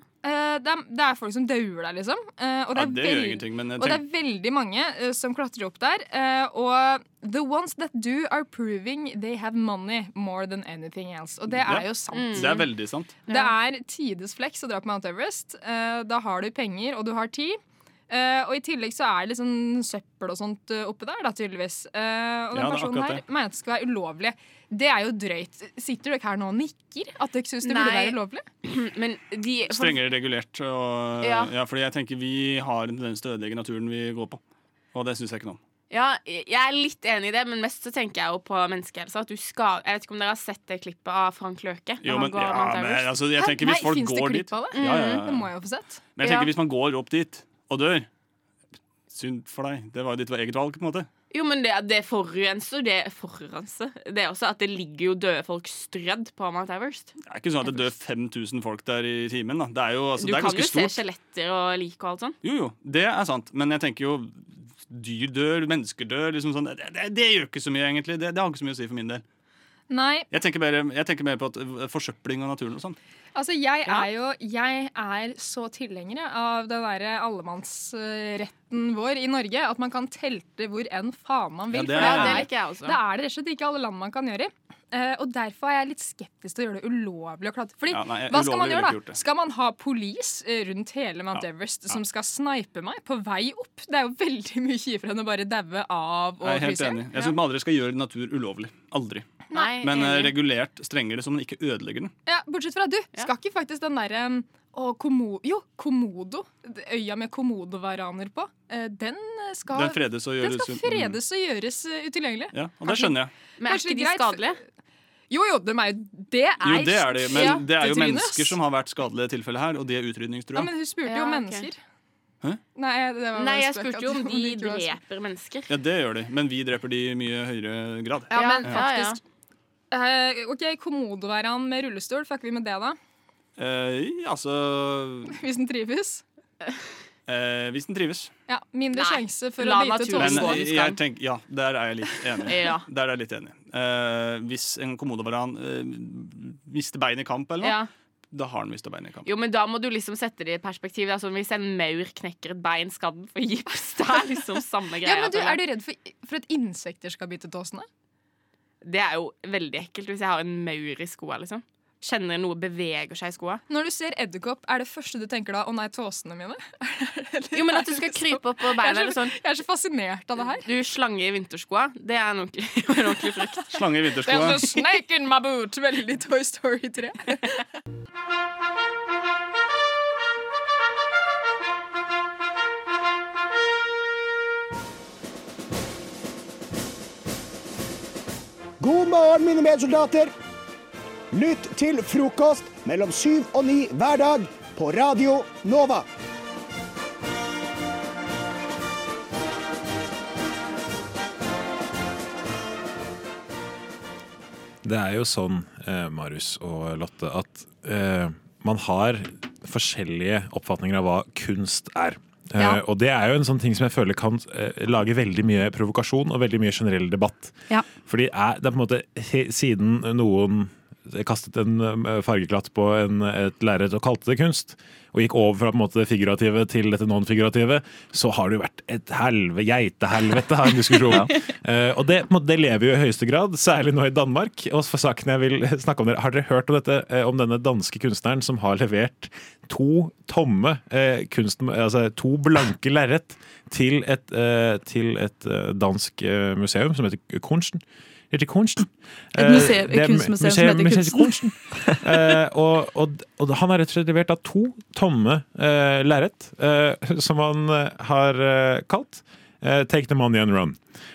det, er, det er folk som dauer der, liksom. Eh, og det, Ja, er det gjør veld- ingenting, men jeg Og det er veldig mange eh, som klatrer opp der. eh, og the ones that do are proving they have money more than anything else. Og det Ja. Mm. er jo sant. Det er veldig sant. Det er tides flex å dra på Mount Everest. Eh, da har du penger, og du har tid. Eh, og i tillegg så er det liksom søppel og sånt eh, oppe der, da, tydeligvis. Eh, Ja, og den det er personen akkurat her det. mener at det skal være ulovlig. Det er jo drøyt. Sitter du ikke her nå og nikker? At du ikke syns det burde Nei. være ulovlig? Men de Strengere regulert. Og, ja. Ja. fordi jeg tenker vi har en tendens til å ødelegge naturen vi går på. Og det syns jeg ikke noe om. Ja, jeg er litt enig i det, men mest så tenker jeg jo på menneskehelse. At du skal, jeg vet ikke om dere har sett det klippet av Frank Løke? når Jo, han men- går ja, Mount men Everest. altså, jeg Hæ? tenker hvis folk finnes går det dit- klipp av det? Ja, ja, ja. Det må jeg jo få sett. Men jeg tenker Ja. hvis man går opp dit og dør Synd for deg. Det var jo ditt eget valg. på en måte Jo, men det, det forurenser, det forurenser. Det er også at det ligger jo døde folk strødd på Mount Everest. Det er ikke sånn at det dør 5000 folk der i timen. da Det er jo, altså, du det er kan jo ganske se stort. skjeletter og lik og alt sånn. Jo, jo, det er sant. Men jeg tenker jo dyr dør, mennesker dør. Liksom sånn. det, det, det gjør ikke så mye, egentlig. Det, det har ikke så mye å si for min del. Nei, Jeg tenker mer, jeg tenker mer på at eh, forsøpling av naturen og sånn. Altså, jeg er jo jeg er så tilhenger jeg, av den derre allemannsretten vår i Norge. At man kan telte hvor enn faen man vil. Ja, det for er- Ja, det liker jeg også. Det er det rett og slett ikke alle land man kan gjøre i. Eh, og derfor er jeg litt skeptisk til å gjøre det ulovlig å klatre. Fordi, Ja, nei, hva skal man ulovlig gjøre ville ikke gjort da? det. Skal man ha police eh, rundt hele Mount Ja, Everest ja. som skal snipe meg på vei opp? Det er jo veldig mye kjipere enn å bare daue av og Jeg er helt fryse. enig. Jeg syns man aldri skal gjøre natur ulovlig. Aldri. Nei, Men eh, enig. regulert strengere, så man ikke ødelegger den. Ja, bortsett fra du. Skal ikke faktisk den derre um, å, komo Jo, Komodo. d- Øya med komodovaraner på. eh, Den eh, skal Den fredes og den gjøres skal ut- mm. fredes og gjøres eh, utilgjengelig. Ja, og det skjønner jeg. Men er ikke de skadelige? Jo, jo, de er jo Det er, Jo, det er det, men det er jo sjettetrynet, ass. mennesker som har vært skadelige tilfellet her, og de er utrydningstrua. Ja, men hun spurte jo om mennesker. Hæ? Nei, det var bare Nei, jeg spøk at- spurte jo om de ikke var- sånn. dreper mennesker. Ja, det gjør de, men vi dreper de i mye høyere grad. Ja, men Ja. faktisk. Eh, OK, komodovaran med rullestol, fucker vi med det, da? Eh, altså Hvis den trives? eh, Hvis den trives. Ja, mindre sjanse for la å bite naturen Men eh, tåsen. gå. jeg tenker, ja, der er jeg litt enig. Ja. Der er jeg litt enig. Eh, hvis en kommodovaran eh, mister beinet i kamp, eller noe, Ja. da har den mista beinet i kamp. Jo, men da må du liksom sette det i perspektiv. Da. Sånn, hvis en maur knekker et bein, skal den få gips. Det er liksom samme greia. Ja, men du, føler jeg. Er du redd for, for at insekter skal bite tåsene? Det er jo veldig ekkelt hvis jeg har en maur i skoa, liksom. Kjenner noe beveger seg i skoa. Når du ser edderkopp, er det første du tenker da 'Å nei, tåsene mine'? Jo, men at du skal krype opp på Jeg beina er eller så- sånn. Jeg er så fascinert av det her. Du slange i vinterskoa, det er en ordentlig en ordentlig frykt. Slange i Det er vinterskoa. så altså snake in my boot, veldig Toy Story 3. God morgen, mine medsoldater. Lytt til frokost mellom syv og ni hver dag på Radio Nova. Det er jo sånn, eh, Marius og Lotte, at eh, man har forskjellige oppfatninger av hva kunst er. Eh, Ja. og det er jo en sånn ting som jeg føler kan eh, lage veldig mye provokasjon og veldig mye generell debatt. Ja. Fordi er, det er på en måte he, siden noen kastet en eh, fargeklatt på en, et lerret og kalte det kunst, og gikk over fra på en måte det figurative til dette non-figurative, så har det jo vært et helve, geitehelvete av en diskusjon. Eh, og det, på en måte, det lever jo i høyeste grad, særlig nå i Danmark. Og for saken jeg vil snakke om dere, Har dere hørt om, dette, eh, om denne danske kunstneren som har levert to tomme eh, kunst, altså to blanke lerret til et, eh, til et eh, dansk eh, museum som heter Kunsten? etter kunsten. Et Eh, museum- det er kunstmuseum som museum- heter museum til Kunsten. kunsten. Eh, og, og, og han har rett og slett levert da to tomme uh, lerret, eh, som han eh, har eh, kalt eh, Take the money and run.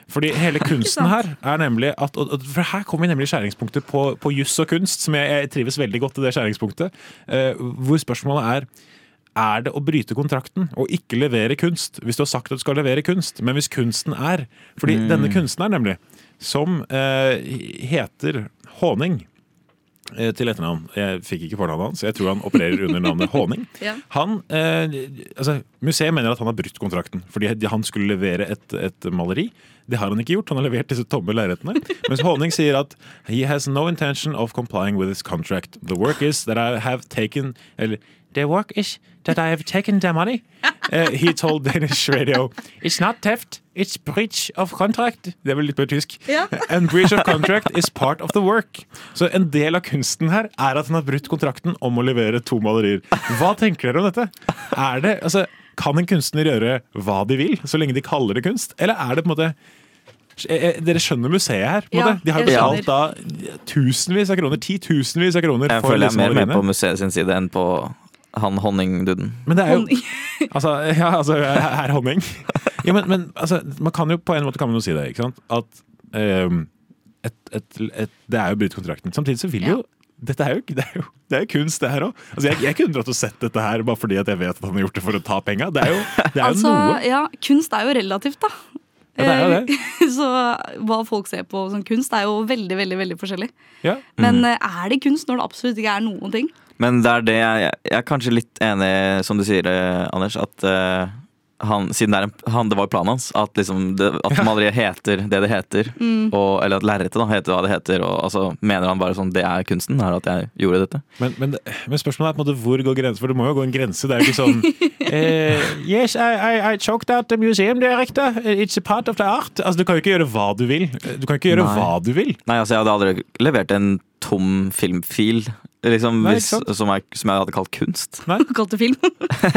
Fordi hele kunsten her er nemlig at og, og, For her kommer vi nemlig i skjæringspunktet på, på juss og kunst, som jeg, jeg trives veldig godt i det skjæringspunktet, eh, hvor spørsmålet er er det å bryte kontrakten og ikke levere kunst hvis du har sagt at du skal levere kunst, men hvis kunsten er Fordi Mm. denne kunstneren, nemlig, som eh, heter Håning eh, til etternavn Jeg fikk ikke fornavnet hans, jeg tror han opererer under navnet Håning. Ja. Han, eh, altså, museet mener at han har brutt kontrakten fordi de- han skulle levere et, et maleri. Det har han ikke gjort. Han har levert disse tomme lerretene. Mens Håning sier at he has no intention of complying with his contract. The work is that I have taken eller, The work is that I have taken the money. Eh, he told Danish radio It's not theft, it's breach of contract. Det er vel litt på tysk. Ja. And breach of contract is part of the work. Så en del av kunsten her er at han har brutt kontrakten om å levere to malerier. Hva tenker dere om dette? Er det, altså, kan en kunstner gjøre hva de vil, så lenge de kaller det kunst? Eller er det på en måte eh, eh, dere skjønner museet her. på en Ja, måte. De har jeg betalt da tusenvis av kroner, titusenvis av kroner. Jeg for føler jeg disse er mer med maleriene. liksom på museet sin side enn på han honningduden. Men det er jo Altså, ja, altså her honning. Ja, men, men altså, man kan jo på en måte kan man jo si det, ikke sant? At ehm, et, et, et, det er jo å bryte kontrakten. Samtidig så vil jo dette er jo, det, er jo, det er jo kunst, det her òg. Altså, jeg, jeg kunne dratt og sett dette her bare fordi at jeg vet at han har gjort det for å ta penga. Det er jo, det er jo altså, noe. Ja, kunst er jo relativt, da. Ja, det er jo det. Eh, Så hva folk ser på som kunst, er jo veldig veldig, veldig forskjellig. Ja. Men eh, er det kunst når det absolutt ikke er noen ting? Mm. Men det er det jeg, jeg er kanskje litt enig i, som du sier, eh, Anders, at eh, han, siden det, er en, han, det var jo planen hans, at, liksom det, at maleriet heter det det heter, Mm. og, eller at lerretet da heter hva det heter, og altså, mener han bare sånn det er kunsten, er det at jeg gjorde dette? Men, men, men spørsmålet er på en måte hvor går grensen? For det må jo gå en grense. Det er jo ikke sånn eh, Yes, I, I, I choked at the museum director. It's a part of the art. Altså, du kan jo ikke gjøre hva du vil. Du kan ikke gjøre Nei. hva du vil. Nei, altså jeg hadde aldri levert en tom filmfil, liksom, Nei, hvis, ikke sant? som, jeg, som jeg hadde kalt kunst. Kalt det film.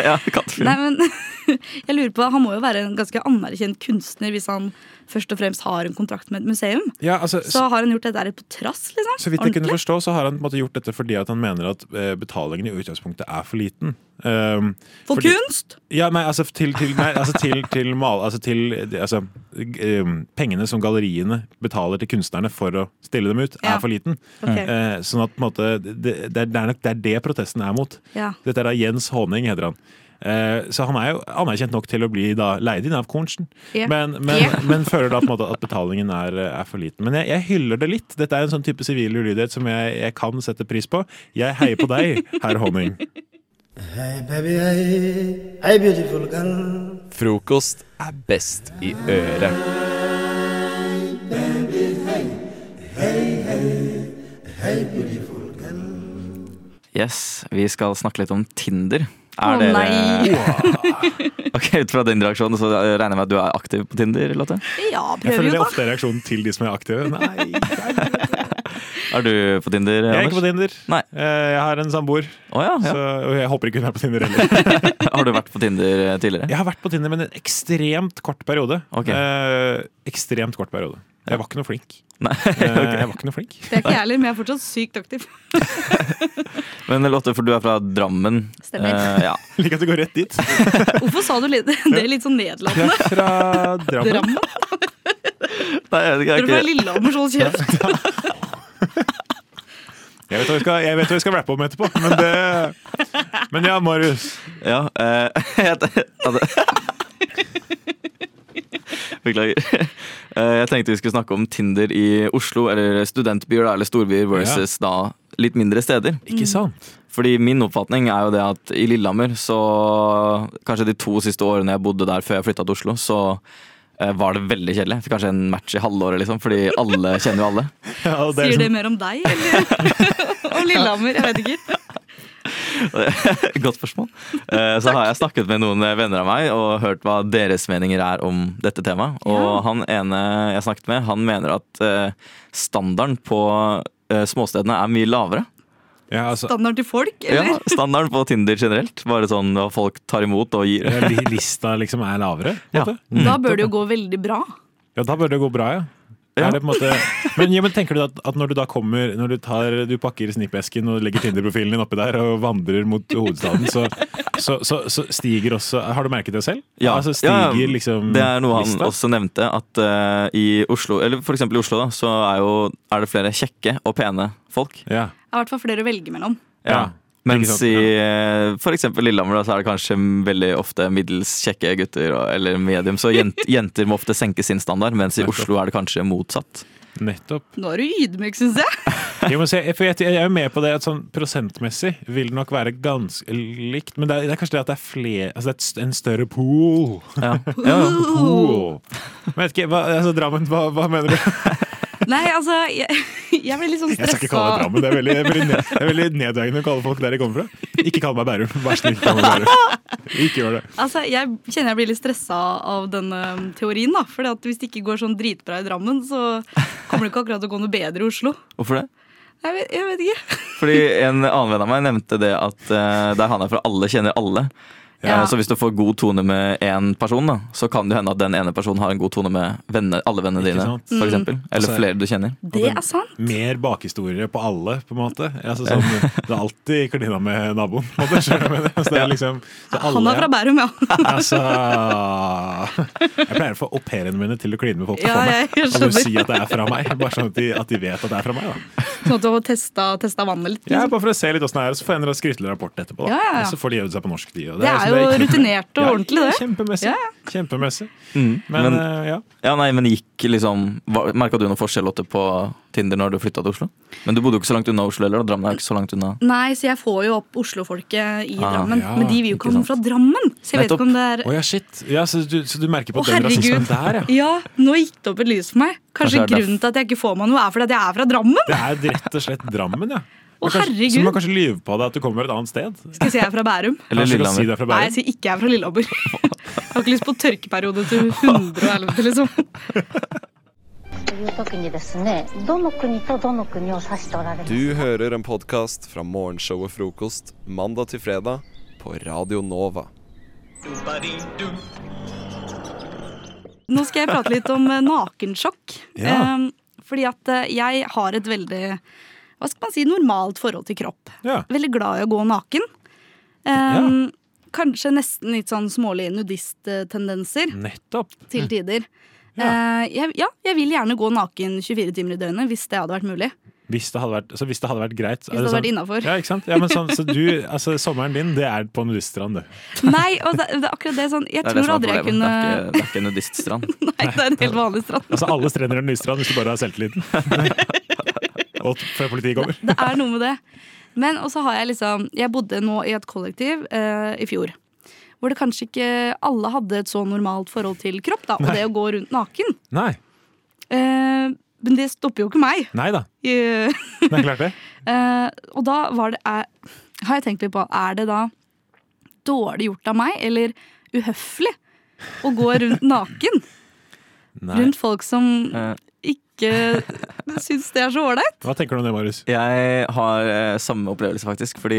ja, kalt film. Nei, men jeg lurer på, Han må jo være en ganske anerkjent kunstner hvis han først og fremst har en kontrakt med et museum. Ja, altså, så har han gjort dette her på trass, liksom? Så vidt jeg kunne Ordentlig. forstå, så har han på en måte gjort dette fordi at han mener at eh, betalingen i utgangspunktet er for liten. Um, For fordi- kunst? Ja, nei, altså til, til, nei, altså til, til, mal, altså til eh, altså, g- um, Pengene som galleriene betaler til kunstnerne for å stille dem ut, Ja. er for liten. Ok. Eh, sånn at på en måte, det, det, er, det er nok det, er det protesten er mot. Ja. Dette er da Jens Håning, heter han. Eh, Så han er jo anerkjent nok til å bli da leid inn av Kornsen, Ja. men, men, Ja. men føler da på en måte at betalingen er, er for liten. Men jeg, jeg hyller det litt. Dette er en sånn type sivil ulydighet som jeg, jeg kan sette pris på. Jeg heier på deg, herr Honning. Hey baby, hey, hey beautiful girl. Frokost er best i øret. Yes, vi skal snakke litt om Tinder. Er Å, dere nei. Ok, Ut fra din reaksjon så regner jeg med at du er aktiv på Tinder, Lotte? Ja, Jeg prøver føler det jo, er da. ofte er reaksjonen til de som er aktive. Nei, Er du på Tinder, jeg er Anders? ikke på Tinder. Eh, Jeg har en samboer, ja. så- og jeg håper ikke hun er på Tinder heller. Har du vært på Tinder eh, tidligere? Jeg har vært på Tinder, men en ekstremt kort periode. Ok. Eh, ekstremt kort periode. Jeg var ikke noe flink. Eh, Jeg var ikke noe flink. Det er ikke jeg heller, men jeg er fortsatt sykt aktiv. Men Lotte, for du er fra Drammen. Stemmer. Eh, ja. Liker at du går rett dit. Hvorfor sa du litt, det litt sånn nedlatende? fra Drammen. Nei, jeg vet ikke, Tror jeg du det er er ikke Lillehammer som holder kjeft? Jeg vet hva vi skal, jeg vet hva vi skal rappe om etterpå, men det Men ja, Marius. Ja, eh, jeg hadde Beklager. Eh, jeg tenkte vi skulle snakke om Tinder i Oslo, eller studentbyer da, eller storbyer versus da litt mindre steder. Mm. Ikke sant? Fordi min oppfatning er jo det at i Lillehammer, så kanskje de to siste årene jeg bodde der før jeg flytta til Oslo, så eh, var det veldig kjedelig. Jeg Fikk kanskje en match i halvåret, liksom, fordi alle kjenner jo alle. sånn Sier det mer om deg, eller om Lillehammer? Jeg vet ikke. Godt spørsmål. Eh, Så har jeg snakket med noen venner av meg og hørt hva deres meninger er om dette temaet. Og han ene jeg snakket med, han mener at eh, standarden på eh, småstedene er mye lavere. altså- Standard til folk, Ja, eller? standarden på Tinder generelt. Bare sånn hva folk tar imot og gir. Ja, li- Lista Eh, liksom er lavere? Ja. Da bør det jo gå veldig bra. Ja, da bør det gå bra, ja. Er det på en måte, men, ja, men tenker du at, at når du da kommer Når du, tar, du pakker snippesken og legger Tinder-profilen din oppi der og vandrer mot hovedstaden, så, så, så, så stiger også Har du merket det selv? Ja, altså, ja, stiger liksom det er noe han lista? også nevnte. At eh, i Oslo, eller for eksempel i Oslo, da, så er, jo, er det flere kjekke og pene folk. Ja. Det er i hvert fall flere å velge mellom. Mens i eh, for eksempel Lillehammer da, så er det kanskje veldig ofte middels kjekke gutter og- eller medium, så jent, jenter må ofte senke sin standard, mens i Oslo er det kanskje motsatt. Nettopp. Nå er du ydmyk, syns jeg. Jo, men se, for jeg, jeg er jo med på det at sånn prosentmessig vil det nok være ganske likt. Men det er, det er kanskje det at det er flere Altså det er et st- en større pool. Ja. pool. Men vet ikke, hva, altså Drammen, hva, hva mener du? Nei, altså, jeg, jeg ble litt sånn Jeg stressa. skal ikke kalle det Drammen. Det er veldig, veldig, ned, det er veldig nedverdigende å kalle folk der de kommer fra. Ikke kall meg Bærum. Vær snill, ikke kall meg Bærum. Ikke gjør det. Altså, Jeg kjenner jeg blir litt stressa av denne um, teorien. da, fordi at Hvis det ikke går sånn dritbra i Drammen, så kommer det ikke akkurat til å gå noe bedre i Oslo. Hvorfor det? Jeg vet, jeg vet ikke. Fordi en annen venn av meg nevnte det at eh, der han er fra, alle kjenner alle. Ja. Eh, Så hvis du får god tone med én person, da, så kan det hende at den ene personen har en god tone med venner, alle vennene dine. sant? For eksempel, Mm. eller Altså, flere du kjenner. Det er sant. Mer bakhistorie på alle, på en måte. Altså, sånn, det er alltid klina med naboen. På en måte, skjønner du hva jeg mener? altså, det er liksom, så alle, Han er fra Bærum, ja. Altså Jeg pleier å få au pairene mine til å kline med folk Ja, jeg- for meg. jeg Og så skjønner. si at det er fra meg. Bare sånn at de, at de vet at det er fra meg. Da. Sånn at du har testa, testa vannet litt. Ja, liksom. bare for å se litt åssen det er, og så får jeg en skrytelig rapport etterpå. Da. Ja, ja, ja. Og så får de øvd seg på norsk, de. Og Det er jo liksom- rutinert og ordentlig, det. Kjempemessig. Ja, ja. Kjempemessig. Men, Men, eh, ja. ja, nei, men gikk liksom Merka du noe forskjell Lotte, på Tinder når du flytta til Oslo? Men du bodde jo ikke så langt unna Oslo heller, og Drammen er jo ikke så langt unna. Nei, så jeg får jo opp Oslo-folket i Ah, Drammen. ja, men de vil jo ikke komme sant. fra Drammen! Så jeg vet ikke om det er Å ja, shit. Ja, så, du, så du merker på Sånn Å, den rasismen herregud! der, ja. ja, nå gikk det opp et lys for meg. Kanskje, Kanskje det er grunnen til at jeg ikke får meg noe, er fordi at jeg er fra Drammen? Det er rett og slett Drammen, ja. Å, Men kanskje, så herregud. må man kanskje lyve på deg at du kommer fra et annet sted. Skal jeg si jeg er fra Bærum? Eller Kanskje du kan si Lillehammer. du er fra Bærum? Nei, jeg sier ikke jeg er fra Lillehammer. Jeg har ikke lyst på tørkeperiode til 111, liksom. という時にですねどの国とどの国を指しておられます Du hører en podkast fra morgenshow og frokost mandag til fredag på Radio Nova. Nå skal jeg prate litt om eh, nakensjokk. Ja. Eh, Fordi at eh, jeg har et veldig hva skal man si, normalt forhold til kropp. Ja. Veldig glad i å gå naken. Eh, Kanskje nesten litt sånn smålige nudisttendenser Nettopp. til tider. Eh, Jeg, ja, jeg vil gjerne gå naken 24 timer i døgnet hvis det hadde vært mulig. Hvis det hadde vært, så hvis det hadde vært greit Hvis det hadde vært innenfor. Ja, ikke sant? Ja, men sånn, så du, altså, sommeren din, det er på nudiststrand, du. Nei, og det, det er akkurat det sånn Jeg Det er tror det som er aldri jeg kunne problemet. Det er ikke en nudiststrand. Nei, det er en helt vanlig strand. Altså, alle strender er nudiststrand hvis du bare har selvtilliten. Og t- før politiet kommer. Det er noe med det. Men også har jeg liksom Jeg bodde nå i et kollektiv eh, i fjor. Hvor det kanskje ikke alle hadde et så normalt forhold til kropp, da, og Nei. det å gå rundt naken. Nei. Eh, men det stopper jo ikke meg. Nei da. Eh, Det er klart, det. eh, og da var det er, Har jeg tenkt litt på Er det da dårlig gjort av meg, eller uhøflig, å gå rundt naken? Rundt folk som Eh. ikke syns det er så ålreit? Hva tenker du om det, Marius? Jeg har eh, samme opplevelse, faktisk. Fordi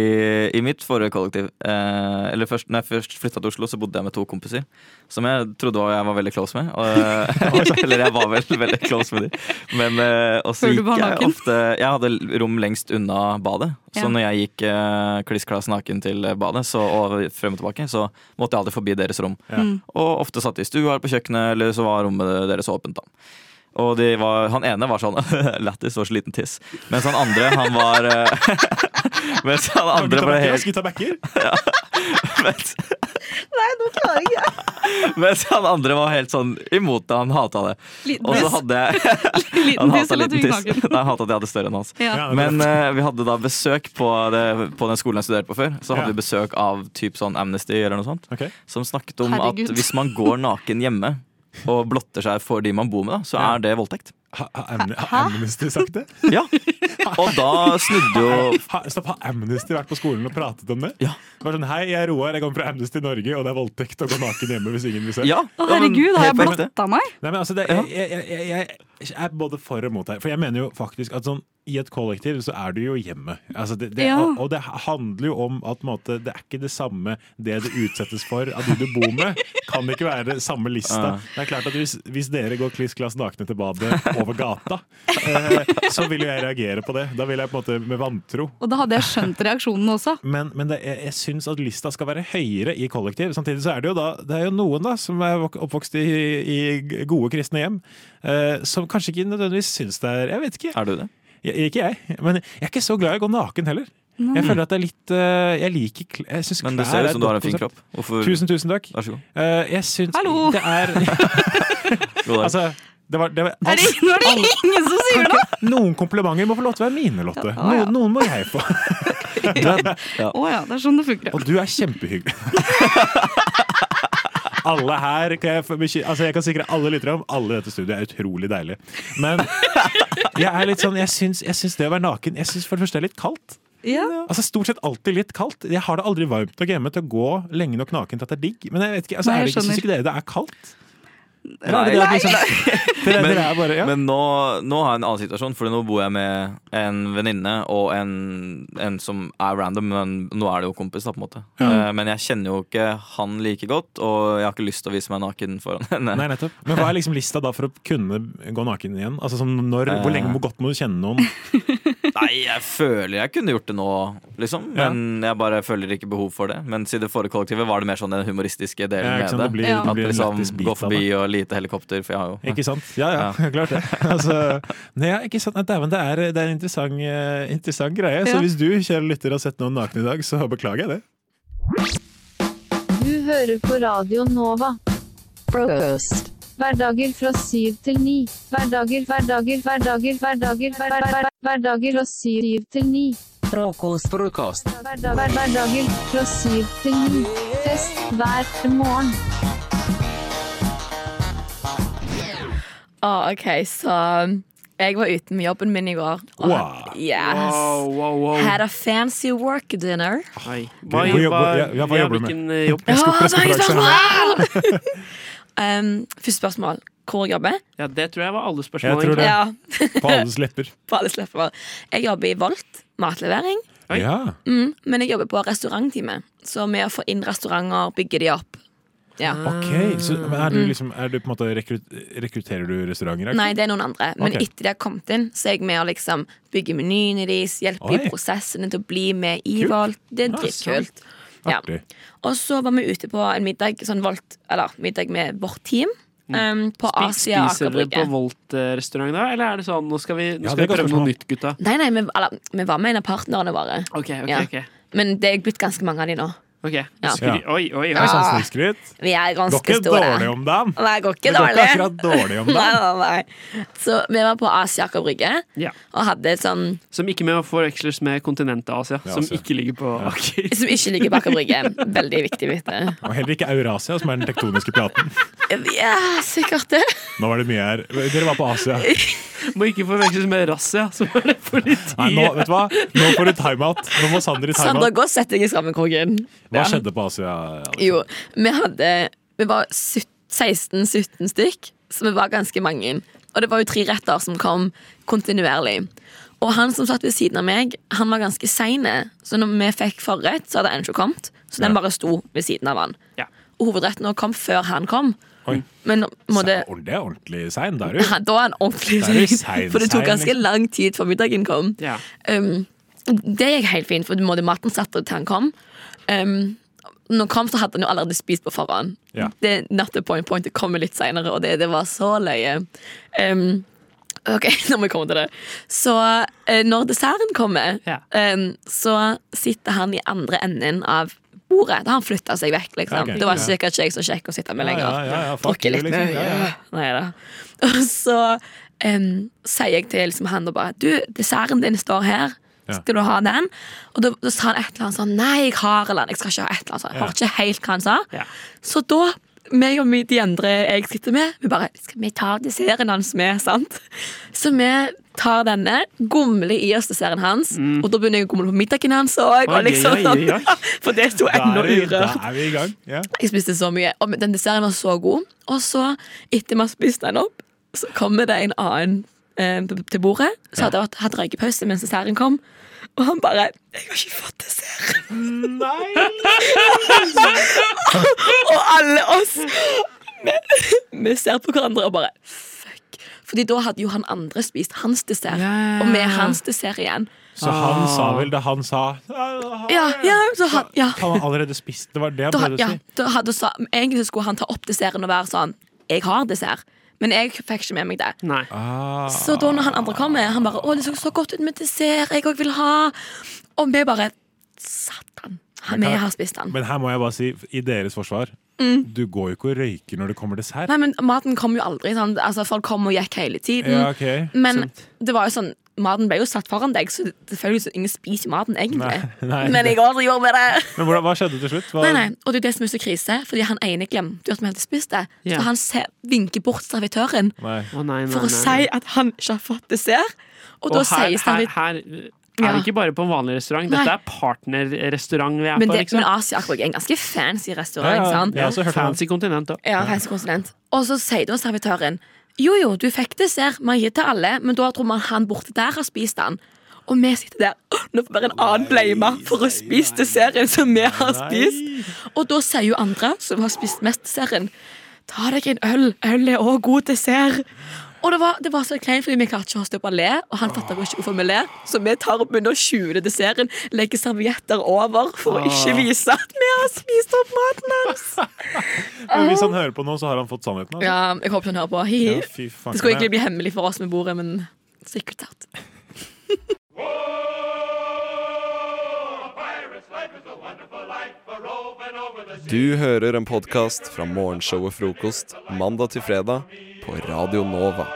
i mitt forrige kollektiv eh, Eller først, når jeg først flytta til Oslo, så bodde jeg med to kompiser. Som jeg trodde var, jeg var veldig close med. Og, eller jeg var vel veldig close med dem. Men eh, også Før du gikk var jeg naken. ofte Jeg hadde rom lengst unna badet. Så Ja. når jeg gikk eh, klissklass naken til badet så, og frem og tilbake, så måtte jeg alltid forbi deres rom. Ja. Mm. Og ofte satt de i stua eller på kjøkkenet, eller så var rommet deres åpent. da og de var, han ene var sånn Lættis var så liten tiss. Mens han andre, han var eh, Mens han andre var Gutta backer, helt Gutta backer? Nei, nå klarer jeg ikke. Mens han andre var helt sånn imot det. Han hata det. Liten Og så tiss. hadde jeg Liten Han tiss hata eller liten tung tiss. naken? Nei, han hata at jeg hadde større enn hans. Ja. Ja, det er Men eh, vi hadde da besøk på, det, på den skolen jeg studerte på før. Så hadde Ja. vi besøk av typ sånn Amnesty eller noe sånt. Ok. Som snakket om Herregud. at hvis man går naken hjemme og blotter seg for de man bor med, da, så er det voldtekt. Har Amnesty sagt det? Ja. Og da snudde jo Ha, stopp, har Amnesty vært på skolen og pratet om det? Ja. Bare sånn, Hei, jeg er Roar, jeg kommer fra Amnesty Norge, og det er voldtekt å gå naken hjemme hvis ingen vil se. Ja. Å, herregud, har jeg blotta meg? Nei, men altså, det, jeg, jeg, jeg, jeg er både for og mot her. For jeg mener jo faktisk at sånn i et kollektiv så er du jo hjemme. Altså det, det, Ja. og, og det handler jo om at på en måte, det er ikke det samme det du utsettes for av de du bor med. Kan ikke være samme lista. Ja. Det er klart at Hvis, hvis dere går kliss glass nakne til badet over gata, eh, så vil jo jeg reagere på det. Da vil jeg på en måte med vantro. Og da hadde jeg skjønt reaksjonen også. Men, men det, jeg, jeg syns at lista skal være høyere i kollektiv. Samtidig så er det jo da Det er jo noen da som er vok- oppvokst i, i gode kristne hjem, eh, som kanskje ikke nødvendigvis syns det er Jeg vet ikke. Er du det? ikke jeg. Men jeg er ikke så glad i å gå naken heller. Nei. Jeg føler at det er litt eh, Jeg liker kl- jeg synes Men det klær ser er ut et som du har en godt fin konsept. kropp. Hvorfor- Tusen, tusen takk. Vær så god. Eh, jeg syns det er Altså, det var, det var Er det, nå er det ingen som sier noe! Noen komplimenter må få lov til å være mine, Lotte. Ja, ja. Noen, noen må jeg få. Å ja, det er sånn det funker. Og du er kjempehyggelig. Alle her kan jeg, få beky- altså jeg kan sikre alle lyttere om alle i dette studioet er utrolig deilige. Men jeg er litt sånn Jeg syns, jeg syns det å være naken Jeg syns for det første det er litt kaldt. Ja. Altså Stort sett alltid litt kaldt. Jeg har det aldri varmt nok hjemme til å gå lenge nok naken til at det er digg. Men jeg vet ikke, altså, Nei, er det jeg ikke, syns skjønner. ikke dere det er kaldt? Eller er det det at liksom- Dere- dere Men, er bare- ja. men nå, nå har jeg en annen situasjon, Fordi nå bor jeg med en venninne og en, en som er random, men nå er det jo kompis, da, på en måte. Ja. Eh, Men jeg kjenner jo ikke han like godt, og jeg har ikke lyst til å vise meg naken foran henne. Nei, nettopp. Men hva er liksom lista da for å kunne gå naken igjen? Altså sånn når, Hvor Eh. lenge hvor godt må du kjenne noen? Nei, jeg føler jeg kunne gjort det nå, liksom. Men jeg bare føler ikke behov for det. Mens i det forrige kollektivet var det mer sånn den humoristiske delen Ja, ikke sant, med det. det blir- det At blir en liksom lættis bit gå av forbi og lite helikopter, for jeg har jo Ikke sant? Ja, ja, klart det. Altså, nei, ja, ikke sant? Nei, dæven, det, er, det er en interessant, eh, interessant greie. Ja. Så hvis du, kjære lytter, har sett noen nakne i dag, så beklager jeg det. Du hører på Radio Nova. Frokost. Hverdager fra syv til ni. Hverdager, hverdager, hverdager, hverdager, hver- hver- hver- hverdager og syv til ni. Frokost, frokost. Hverdag- hver- Hverdager fra syv til ni. Fest hver morgen. Ah, OK, så jeg var uten med jobben min i går. Og, Wow. Yes. Wow, wow, wow. Had a fancy work dinner. Hei. Hva jobber- ja, ja, hva jobber du med? Hvilken eh, jobb? Ja, mange spørsmål! um, første spørsmål. Hvor jeg jobber? Ja, det tror jeg var alle spørsmål. Jeg tror det. Ja. På alles lepper. På alle slipper. Jeg jobber i Volt, matlevering. Ja. Mm, men jeg jobber på restaurantteamet. Så med å få inn restauranter, bygge de opp. Ja. Ok, så men er du liksom er du på en måte rekrut, Rekrutterer du restauranter? ikke? Mm. Nei, det er noen andre. Men Ok. etter de har kommet inn, så er jeg med å liksom bygge menyene deres, hjelpe Oi. i prosessene til å bli med i Kult. Volt. Det er Ja, dritkult. Ja. Artig. Og så var vi ute på en middag, sånn Volt, eller middag med vårt team. Um, på Spi- Asia Mm. Spiser dere Aker på Brygge. Volt-restaurant da, eller er det sånn nå skal vi, nå Ja, skal det er vi godt prøve noe nytt, gutta? Nei, nei, vi, eller, vi var med en av partnerne våre. ok, ok. Men det er blitt ganske mange av de nå. Ok, Ja. Skry- Oi, oi, oi. Ja. Vi er ganske sånn Går ikke store. dårlig om dagen. Nei, det går ikke Det går ikke dårlig. akkurat dårlig om dagen. Nei, nei, nei. Så vi var på Asia Aker Brygge Ja. og hadde et sånn Som ikke med å forveksles med kontinentet Asia, som ikke ligger på Aker. Som ikke ligger bak brygge. Veldig viktig vite. Og heller ikke Eurasia, som er den tektoniske platen. Ja, sikkert det. Nå var det mye her. Dere var på Asia. Må ikke forveksles med Rassia, som er det politiet. Nei, nå, vet du hva? nå får du timeout. Nå må Sander i Sander, timeout. gå og sett deg i skammekroken. Hva skjedde på Asia? Jo, vi hadde Vi var sytt- 16-17 stykk, så vi var ganske mange. Og det var jo tre retter som kom kontinuerlig. Og han som satt ved siden av meg, han var ganske sein, så når vi fikk forrett, så hadde den ikke kommet. Så den bare sto ved siden av han. Ja. Og hovedretten også kom før han kom. Oi. Men må det Å, Det er ordentlig sein, da er Ja, du. da er han ordentlig Da er du sein. sein, For det tok sein, ganske liksom. lang tid før middagen kom. Ja. Um, det gikk helt fint, for du måtte maten satt til han kom. Um, når han kom, så hadde han jo allerede spist på forhånd. Ja. Det not the point, point, det kommer litt senere, og det, det var så løye. Um, ok, nå må jeg komme til det. Så eh, når desserten kommer, um, så sitter han i andre enden av bordet. Da har han flytta seg vekk, liksom. Ok, det var ja. sikkert ikke jeg som sjekka å sitte Ja, med lenger. ja, ja, ja, fuck Drukket you, litt liksom. med Ja, ja. Neida. Og så em, sier jeg til liksom, han da bare Du, desserten din står her. Ja. Skal du ha den? Og da, da sa han et eller annet sånn Nei, jeg har eller annet. Jeg skal ikke ha et eller annet. sånn. Jeg hørte ikke helt hva han sa. Så da meg og mi- de andre jeg sitter med, vi bare Skal vi ta desserten hans med, sant? Så vi tar denne, gomler i oss desserten hans, og da begynner jeg å gomle på middagen hans òg. Mm. Oi, oi, Liksom, oi, oi. sånn. For det sto ennå Da er vi- urørt. Da er vi i gang. Ja. Jeg spiste så mye, og den desserten var så god. Og så, etter vi har spist den opp, så kommer det en annen eh, b- til bordet. Så hadde jeg hatt- hatt røykepause mens desserten kom, og han bare 'Jeg har ikke fått desserten'. og alle oss vi, vi ser på hverandre og bare Fuck. Fordi da hadde jo han andre spist hans dessert, og med hans dessert igjen. Så Ah. han sa vel det han sa? Ja, ja, så han, ja. Han har allerede spist. Det var det han da, prøvde å ja, si. da hadde, sa, egentlig skulle han ta opp desserten og være sånn Jeg har dessert, men jeg fikk ikke med meg det. Nei. Ah. Så da når han andre kom med, han bare Å, det så så godt ut med dessert, jeg òg vil ha. Og vi bare Satan. Men Vi kan- har spist den. Men her må jeg bare si, i deres forsvar, Mm. du går jo ikke og røyker når det kommer dessert. Nei, men Maten kom jo aldri. Sånn, altså Folk kom og gikk hele tiden. Ja, ok. Men det var jo sånn maten ble jo satt foran deg, så selvfølgelig så ingen spiser maten, egentlig. Nei, nei. Men jeg også gjorde med det. Men hvordan, hva skjedde til slutt? Hva, Nei, nei, og det er det som er så krise, fordi han ene glemte jo at vi hadde spist det. Ja. Så han ser, vinker bort servitøren Nei. for å si at han ikke har fått dessert. Og, da her, her, sier servitøren her er Ja. det ikke bare på en vanlig restaurant. Dette Nei. er partnerrestaurant vi er men, på. det, liksom. men Asia Aqua er en ganske fancy restaurant. ikke sant? Fancy kontinent, da. Ja, reisekonsulent. Og så sier da servitøren Jo, jo, du fikk dessert, man gir til alle, men da tror man han borte der har spist den. Og vi sitter der. «Åh, Nå får bare en annen blame for å spise desserten som vi har spist. Og da sier jo andre, som har spist mest desserten, ta deg en øl. Øl er òg god dessert. Og det var, det var så kleint, fordi vi klarte ikke å stoppe å le, og han fatter jo ikke hvorfor vi ler, så vi tar og begynner å skjule desserten, legger servietter over for Ah. å ikke vise at vi har spist opp maten hans. Men hvis han hører på nå, så har han fått sannheten. altså. Ja, jeg håper hun hører på. Hi liksom- Ja, fy -hi. faen. det skulle egentlig bli hemmelig for oss med bordet, men sikkert out. Du hører en podkast fra morgenshow og frokost mandag til fredag på Radio Nova.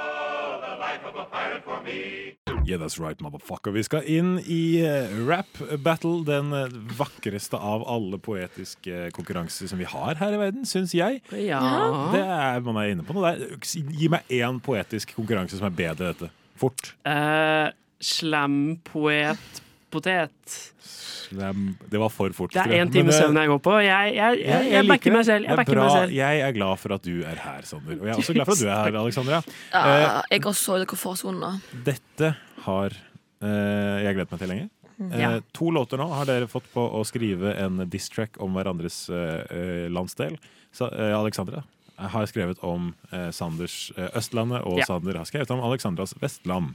Yeah, that's right, motherfucker. Vi skal inn i eh, Rap Battle, den eh, vakreste av alle poetiske eh, konkurranser som vi har her i verden, syns jeg. Ja. Det er, man er inne på noe der. Gi meg én poetisk konkurranse som er bedre enn dette. Fort. Eh, slam poet potet. Lem- Det var for fort. Det tror er jeg. én time Men, eh, søvn jeg går på. Jeg, jeg, jeg, jeg, liker backer det. meg selv. Jeg Det er backer meg bra. selv. Jeg er glad for at du er her, Sander. Og jeg er også glad for at du er her, Alexandra. Ja, jeg går så i komfortsonen nå. Eh, dette har eh, jeg gledet meg til lenge. Mm. Eh, Ja. To låter nå har dere fått på å skrive en diss-track om hverandres eh, eh, landsdel. Så, eh, Alexandra har skrevet om eh, Sanders eh, Østlandet, og Ja. Sander har skrevet om Alexandras Vestland.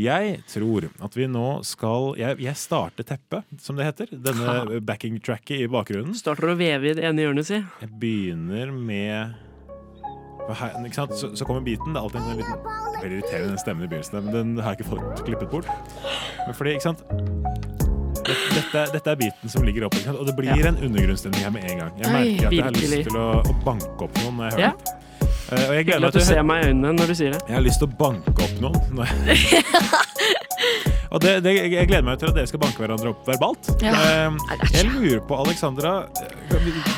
Jeg tror at vi nå skal Jeg, jeg starter teppet, som det heter. Denne backing-tracket i bakgrunnen. Starter å veve i det ene hjørnet, si. Jeg begynner med Hva her, ikke sant? Så, så kommer beaten. Det er alltid en sånn liten Veldig irriterende den stemmen i begynnelsen, der, men den har jeg ikke fått klippet bort. Men fordi, ikke sant Dette, dette, er- dette er beaten som ligger oppe, ikke sant? og det blir Ja. en undergrunnsstemning her med en gang. Jeg Oi, merker at jeg har virkelig. lyst til å, å banke opp noen når jeg hører Ja. den. Eh, og jeg gleder Hyggelig meg at du til å hø- ser meg i øynene når du sier det. Jeg har lyst til å banke opp noen. når jeg- og det, det, jeg gleder meg til at dere skal banke hverandre opp verbalt. Ja. Eh, jeg lurer på, Alexandra,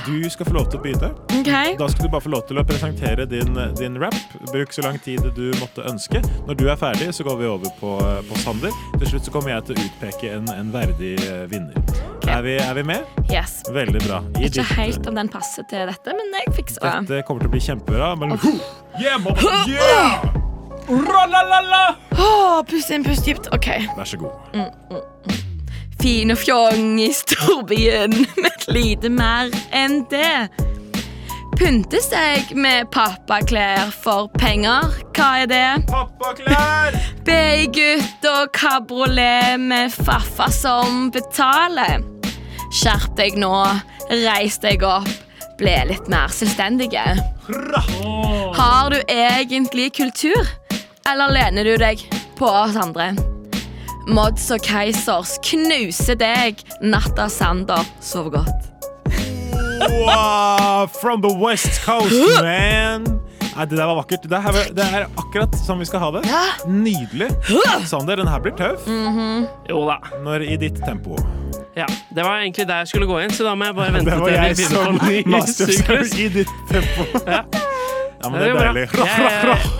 du skal få lov til å begynne. Ok. Da skal du bare få lov til å presentere din, din rap. Bruk så lang tid du måtte ønske. Når du er ferdig, så går vi over på, på Sander. Til slutt så kommer jeg til å utpeke en, en verdig eh, vinner. Er, vi, er vi med? Yes. Veldig bra. I Ikke ditt- helt altså. om den passer til dette, men jeg fikser det. dette kommer til å bli kjempebra. Men, yeah, mother- yeah! Åh, Ah, pust inn, pust dypt. OK. Vær så god. Mm, mm, mm. Fin og fjong i storbyen, men lite mer enn det. Pynte seg med pappaklær for penger, hva er det? Pappaklær! Babygutt og kabriolet med faffa som betaler. Skjerp deg nå, reis deg opp, ble litt mer selvstendige. Har du egentlig kultur, eller lener du deg på oss andre? Mods og Keisers knuser deg. Natta Sander, sov godt. Wow, from the west coast, man! Nei, det der var vakkert. Det, her, det er akkurat som vi skal ha det. Nydelig. Sander, den her blir tøff. Mhm. Jo da. Når i ditt tempo. Ja, Det var egentlig der jeg skulle gå inn, så da må jeg bare Det vente var til jeg jeg begynner som på en ny master syklus. i ditt tempo. Ja. Ja, men det er bra. deilig. Jeg,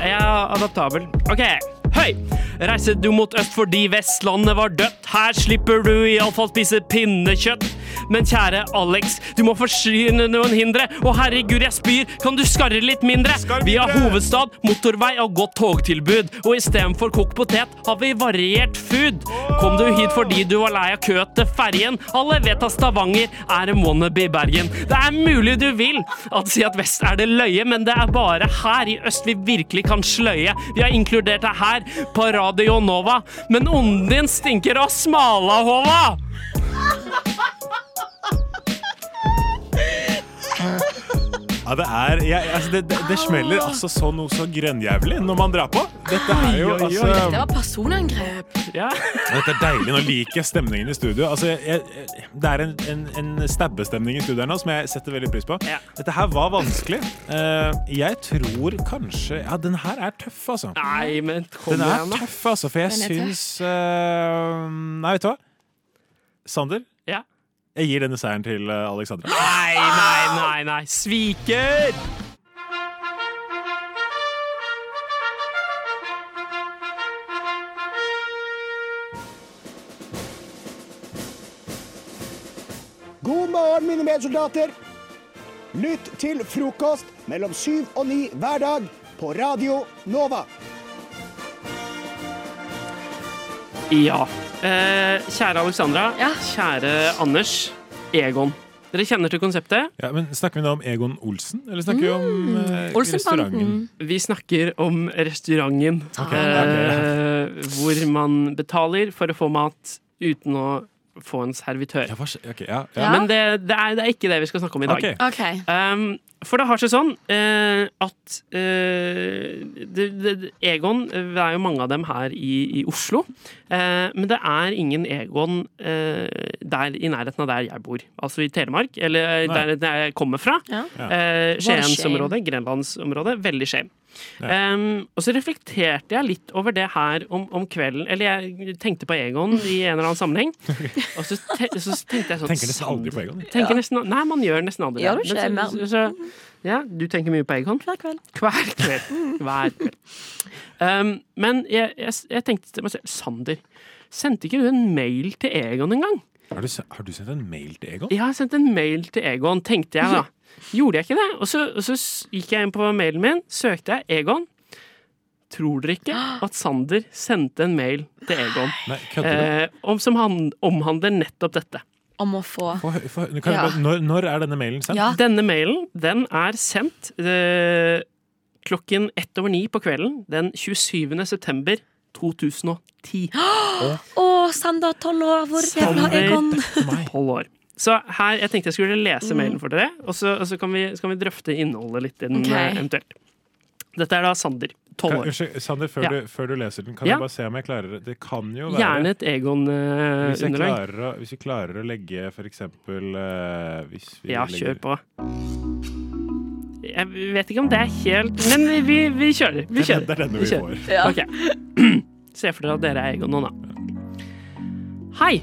jeg er adaptabel. OK. Høy! Reiser du mot øst fordi Vestlandet var dødt? Her slipper du iallfall spise pinnekjøtt. Men kjære Alex, du må forsyne noen hindre. Og herregud, jeg spyr, kan du skarre litt mindre? Vi har hovedstad, motorvei og godt togtilbud. Og istedenfor kokt potet har vi variert food. Kom du hit fordi du var lei av kø til ferjen? Alle vet at Stavanger er en wannabe Bergen. Det er mulig du vil at si at vest er det løye, men det er bare her i øst vi virkelig kan sløye. Vi har inkludert deg her, på Radio Nova, men ånden din stinker av smalahova! Ja, det er jeg, altså, det, det, det smeller altså så noe så grenjævlig når man drar på. Dette er Oi, jo oi, oi. altså Det var personangrep. Dette er deilig. Nå liker jeg stemningen i studio. Altså, jeg, jeg, det er en, en, en stabbestemning i studio her nå som jeg setter veldig pris på. Dette her var vanskelig. Eh, jeg tror kanskje Ja, den her er tøff, altså. Nei, men kom den er igjen, da. tøff, altså, for jeg Den er tøff. syns eh, Nei, vet du hva? Sander, Ja. jeg gir denne seieren til eh, Alexandra. Nei, nei, nei, nei. Sviker! God morgen, mine medsoldater. Lytt til frokost mellom syv og ni hver dag på Radio Nova. Ja. Eh, kjære Alexandra. Kjære Anders. Egon. Dere kjenner til konseptet? Ja, men Snakker vi da om Egon Olsen, eller snakker vi Mm. om eh, restauranten? Vi snakker om restauranten. Ok, eh, hvor man betaler for å få mat uten å få en servitør. ja. Men det, det, er, det er ikke det vi skal snakke om i dag. Ok. Ok. Eh, Um, for det har seg sånn eh, at eh, det, det, det- Egon Det er jo mange av dem her i, i Oslo. eh, men det er ingen Egon eh, der i nærheten av der jeg bor. Altså i Telemark, Nei. eller der, der jeg kommer fra. Ja. Ja. Eh, What a Skiensområdet, Grenlandsområdet. Veldig shame. Eh, Um, og så reflekterte jeg litt over det her om, om kvelden. Eller jeg tenkte på Egon i en eller annen sammenheng. Og så, te så tenkte jeg sånn Tenker nesten aldri på Egon. jeg. Tenker nesten, nei, man gjør nesten aldri Gjør liksom. du ikke Men det, så- så- ja, du tenker mye på Egon? Hver kveld. Hver kveld. Hver kveld. Um, men jeg, jeg, jeg tenkte til meg selv Sander, sendte ikke du en mail til Egon en gang? Har du, se- har du sendt en mail til Egon? Jeg har sendt en mail til Egon, tenkte jeg da. Gjorde jeg ikke det? Og så, og så s- gikk jeg inn på mailen min, søkte jeg Egon. Tror dere ikke at Sander sendte en mail til Egon Nei, kødder eh, om, som han, omhandler nettopp dette? Om å få Få hø- få hø- kan jeg Ja. bare- når, når er denne mailen sendt? Denne mailen den er sendt eh, klokken ett over ni på kvelden den 27. september 2010. Å, Sander, tolv år, hvor jævla Sander, Egon? tolv år. Så her, jeg tenkte jeg skulle lese mailen for dere, og så, og så, kan, vi, så kan vi drøfte innholdet litt den, Ok. eh, eventuelt. Dette er da Sander, tolv Kan, år. unnskyld, Sander, før, Ja. du, før du leser den, kan Ja. du bare se om jeg klarer det? Det kan jo være Gjerne et eh, hvis jeg, Egon-underlag. klarer å, hvis jeg klarer å legge for eksempel eh, hvis vi Ja, legger, kjør på. Jeg vet ikke om det er helt Men vi, vi, vi kjører. Vi kjører. Det er denne vi får. kjører. Ok. Se for dere at dere er Egon nå, da. Hei.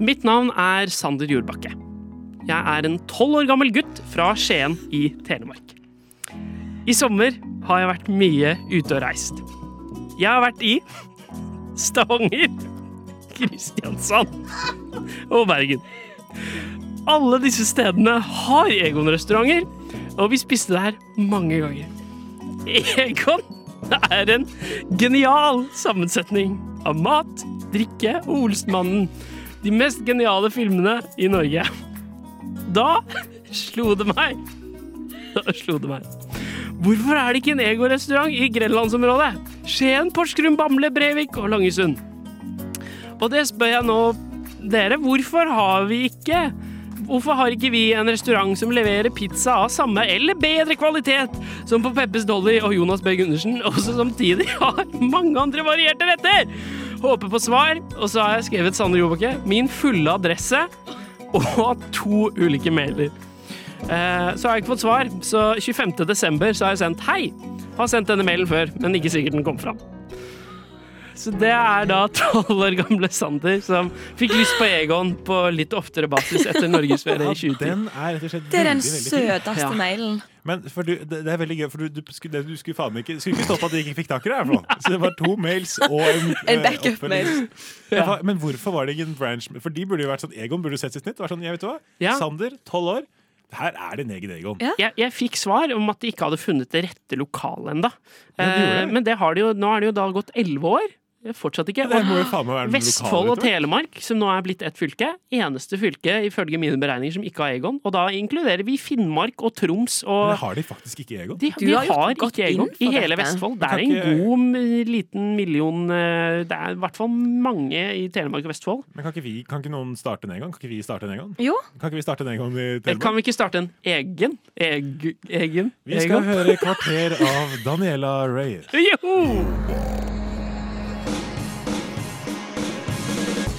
Mitt navn er Sander Jordbakke. Jeg er en tolv år gammel gutt fra Skien i Telemark. I sommer har jeg vært mye ute og reist. Jeg har vært i Stavanger, Kristiansand og Bergen. Alle disse stedene har Egon-restauranter, og vi spiste der mange ganger. Egon er en genial sammensetning av mat, drikke og Olsmannen. De mest geniale filmene i Norge. Da slo det meg Da slo det meg. Hvorfor er det ikke en Egon-restaurant i Grenlandsområdet? Skien, Porsgrunn, Bamble, Brevik og Langesund. Og det spør jeg nå dere. Hvorfor har vi ikke Hvorfor har ikke vi en restaurant som leverer pizza av samme eller bedre kvalitet som på Peppes Dolly og Jonas B. Gundersen, og som samtidig har mange andre varierte retter? Håper på svar, og så har jeg skrevet Sander Jobakke, min fulle adresse og to ulike mailer. Eh, Så har jeg ikke fått svar, så 25. desember så har jeg sendt hei. Har sendt denne mailen før, men ikke sikkert den kom fram. Så det er da tolv år gamle Sander som fikk lyst på Egon på litt oftere basis etter norgesferie i 2010. den er rett og slett Det er den veldig, veldig fin. søteste mailen. Men for du, det, det er veldig gøy, for du, du, skulle, du skulle faen ikke Skulle ikke stått at du ikke fikk tak i det. her, for noe. Så det var to mails og en, En eh, backup-mail. oppfølging. Men hva- Men hvorfor var det ikke en branch? For de burde jo vært sånn Egon burde sett sitt snitt. Det Var sånn, jeg vet hva, Ja. Sander, tolv år. Her er det en egen Egon. Jeg, jeg fikk svar om at de ikke hadde funnet det rette lokalet ennå. Ja, de gjorde det. men det har de jo, nå er det jo da gått elleve år. Fortsatt ikke. Ja, det Og må jo faen meg være noe Vestfold lokale, og vet du. Telemark, som nå er blitt ett fylke, eneste fylke ifølge mine beregninger som ikke har Egon. Og da inkluderer vi Finnmark og Troms og Men har de faktisk ikke Egon? De, de har, ikke Egon i hele Vestfold. Det er en god m- liten million eh, Det er i hvert fall mange i Telemark og Vestfold. Men kan ikke, vi, kan ikke noen starte en Egon? Kan ikke vi starte en Egon? Jo. Kan ikke vi starte en Egon i Telemark? Kan vi ikke starte en egen? Eg, egen? Vi skal Egon? høre kvarter av Daniela Rayer. Joho!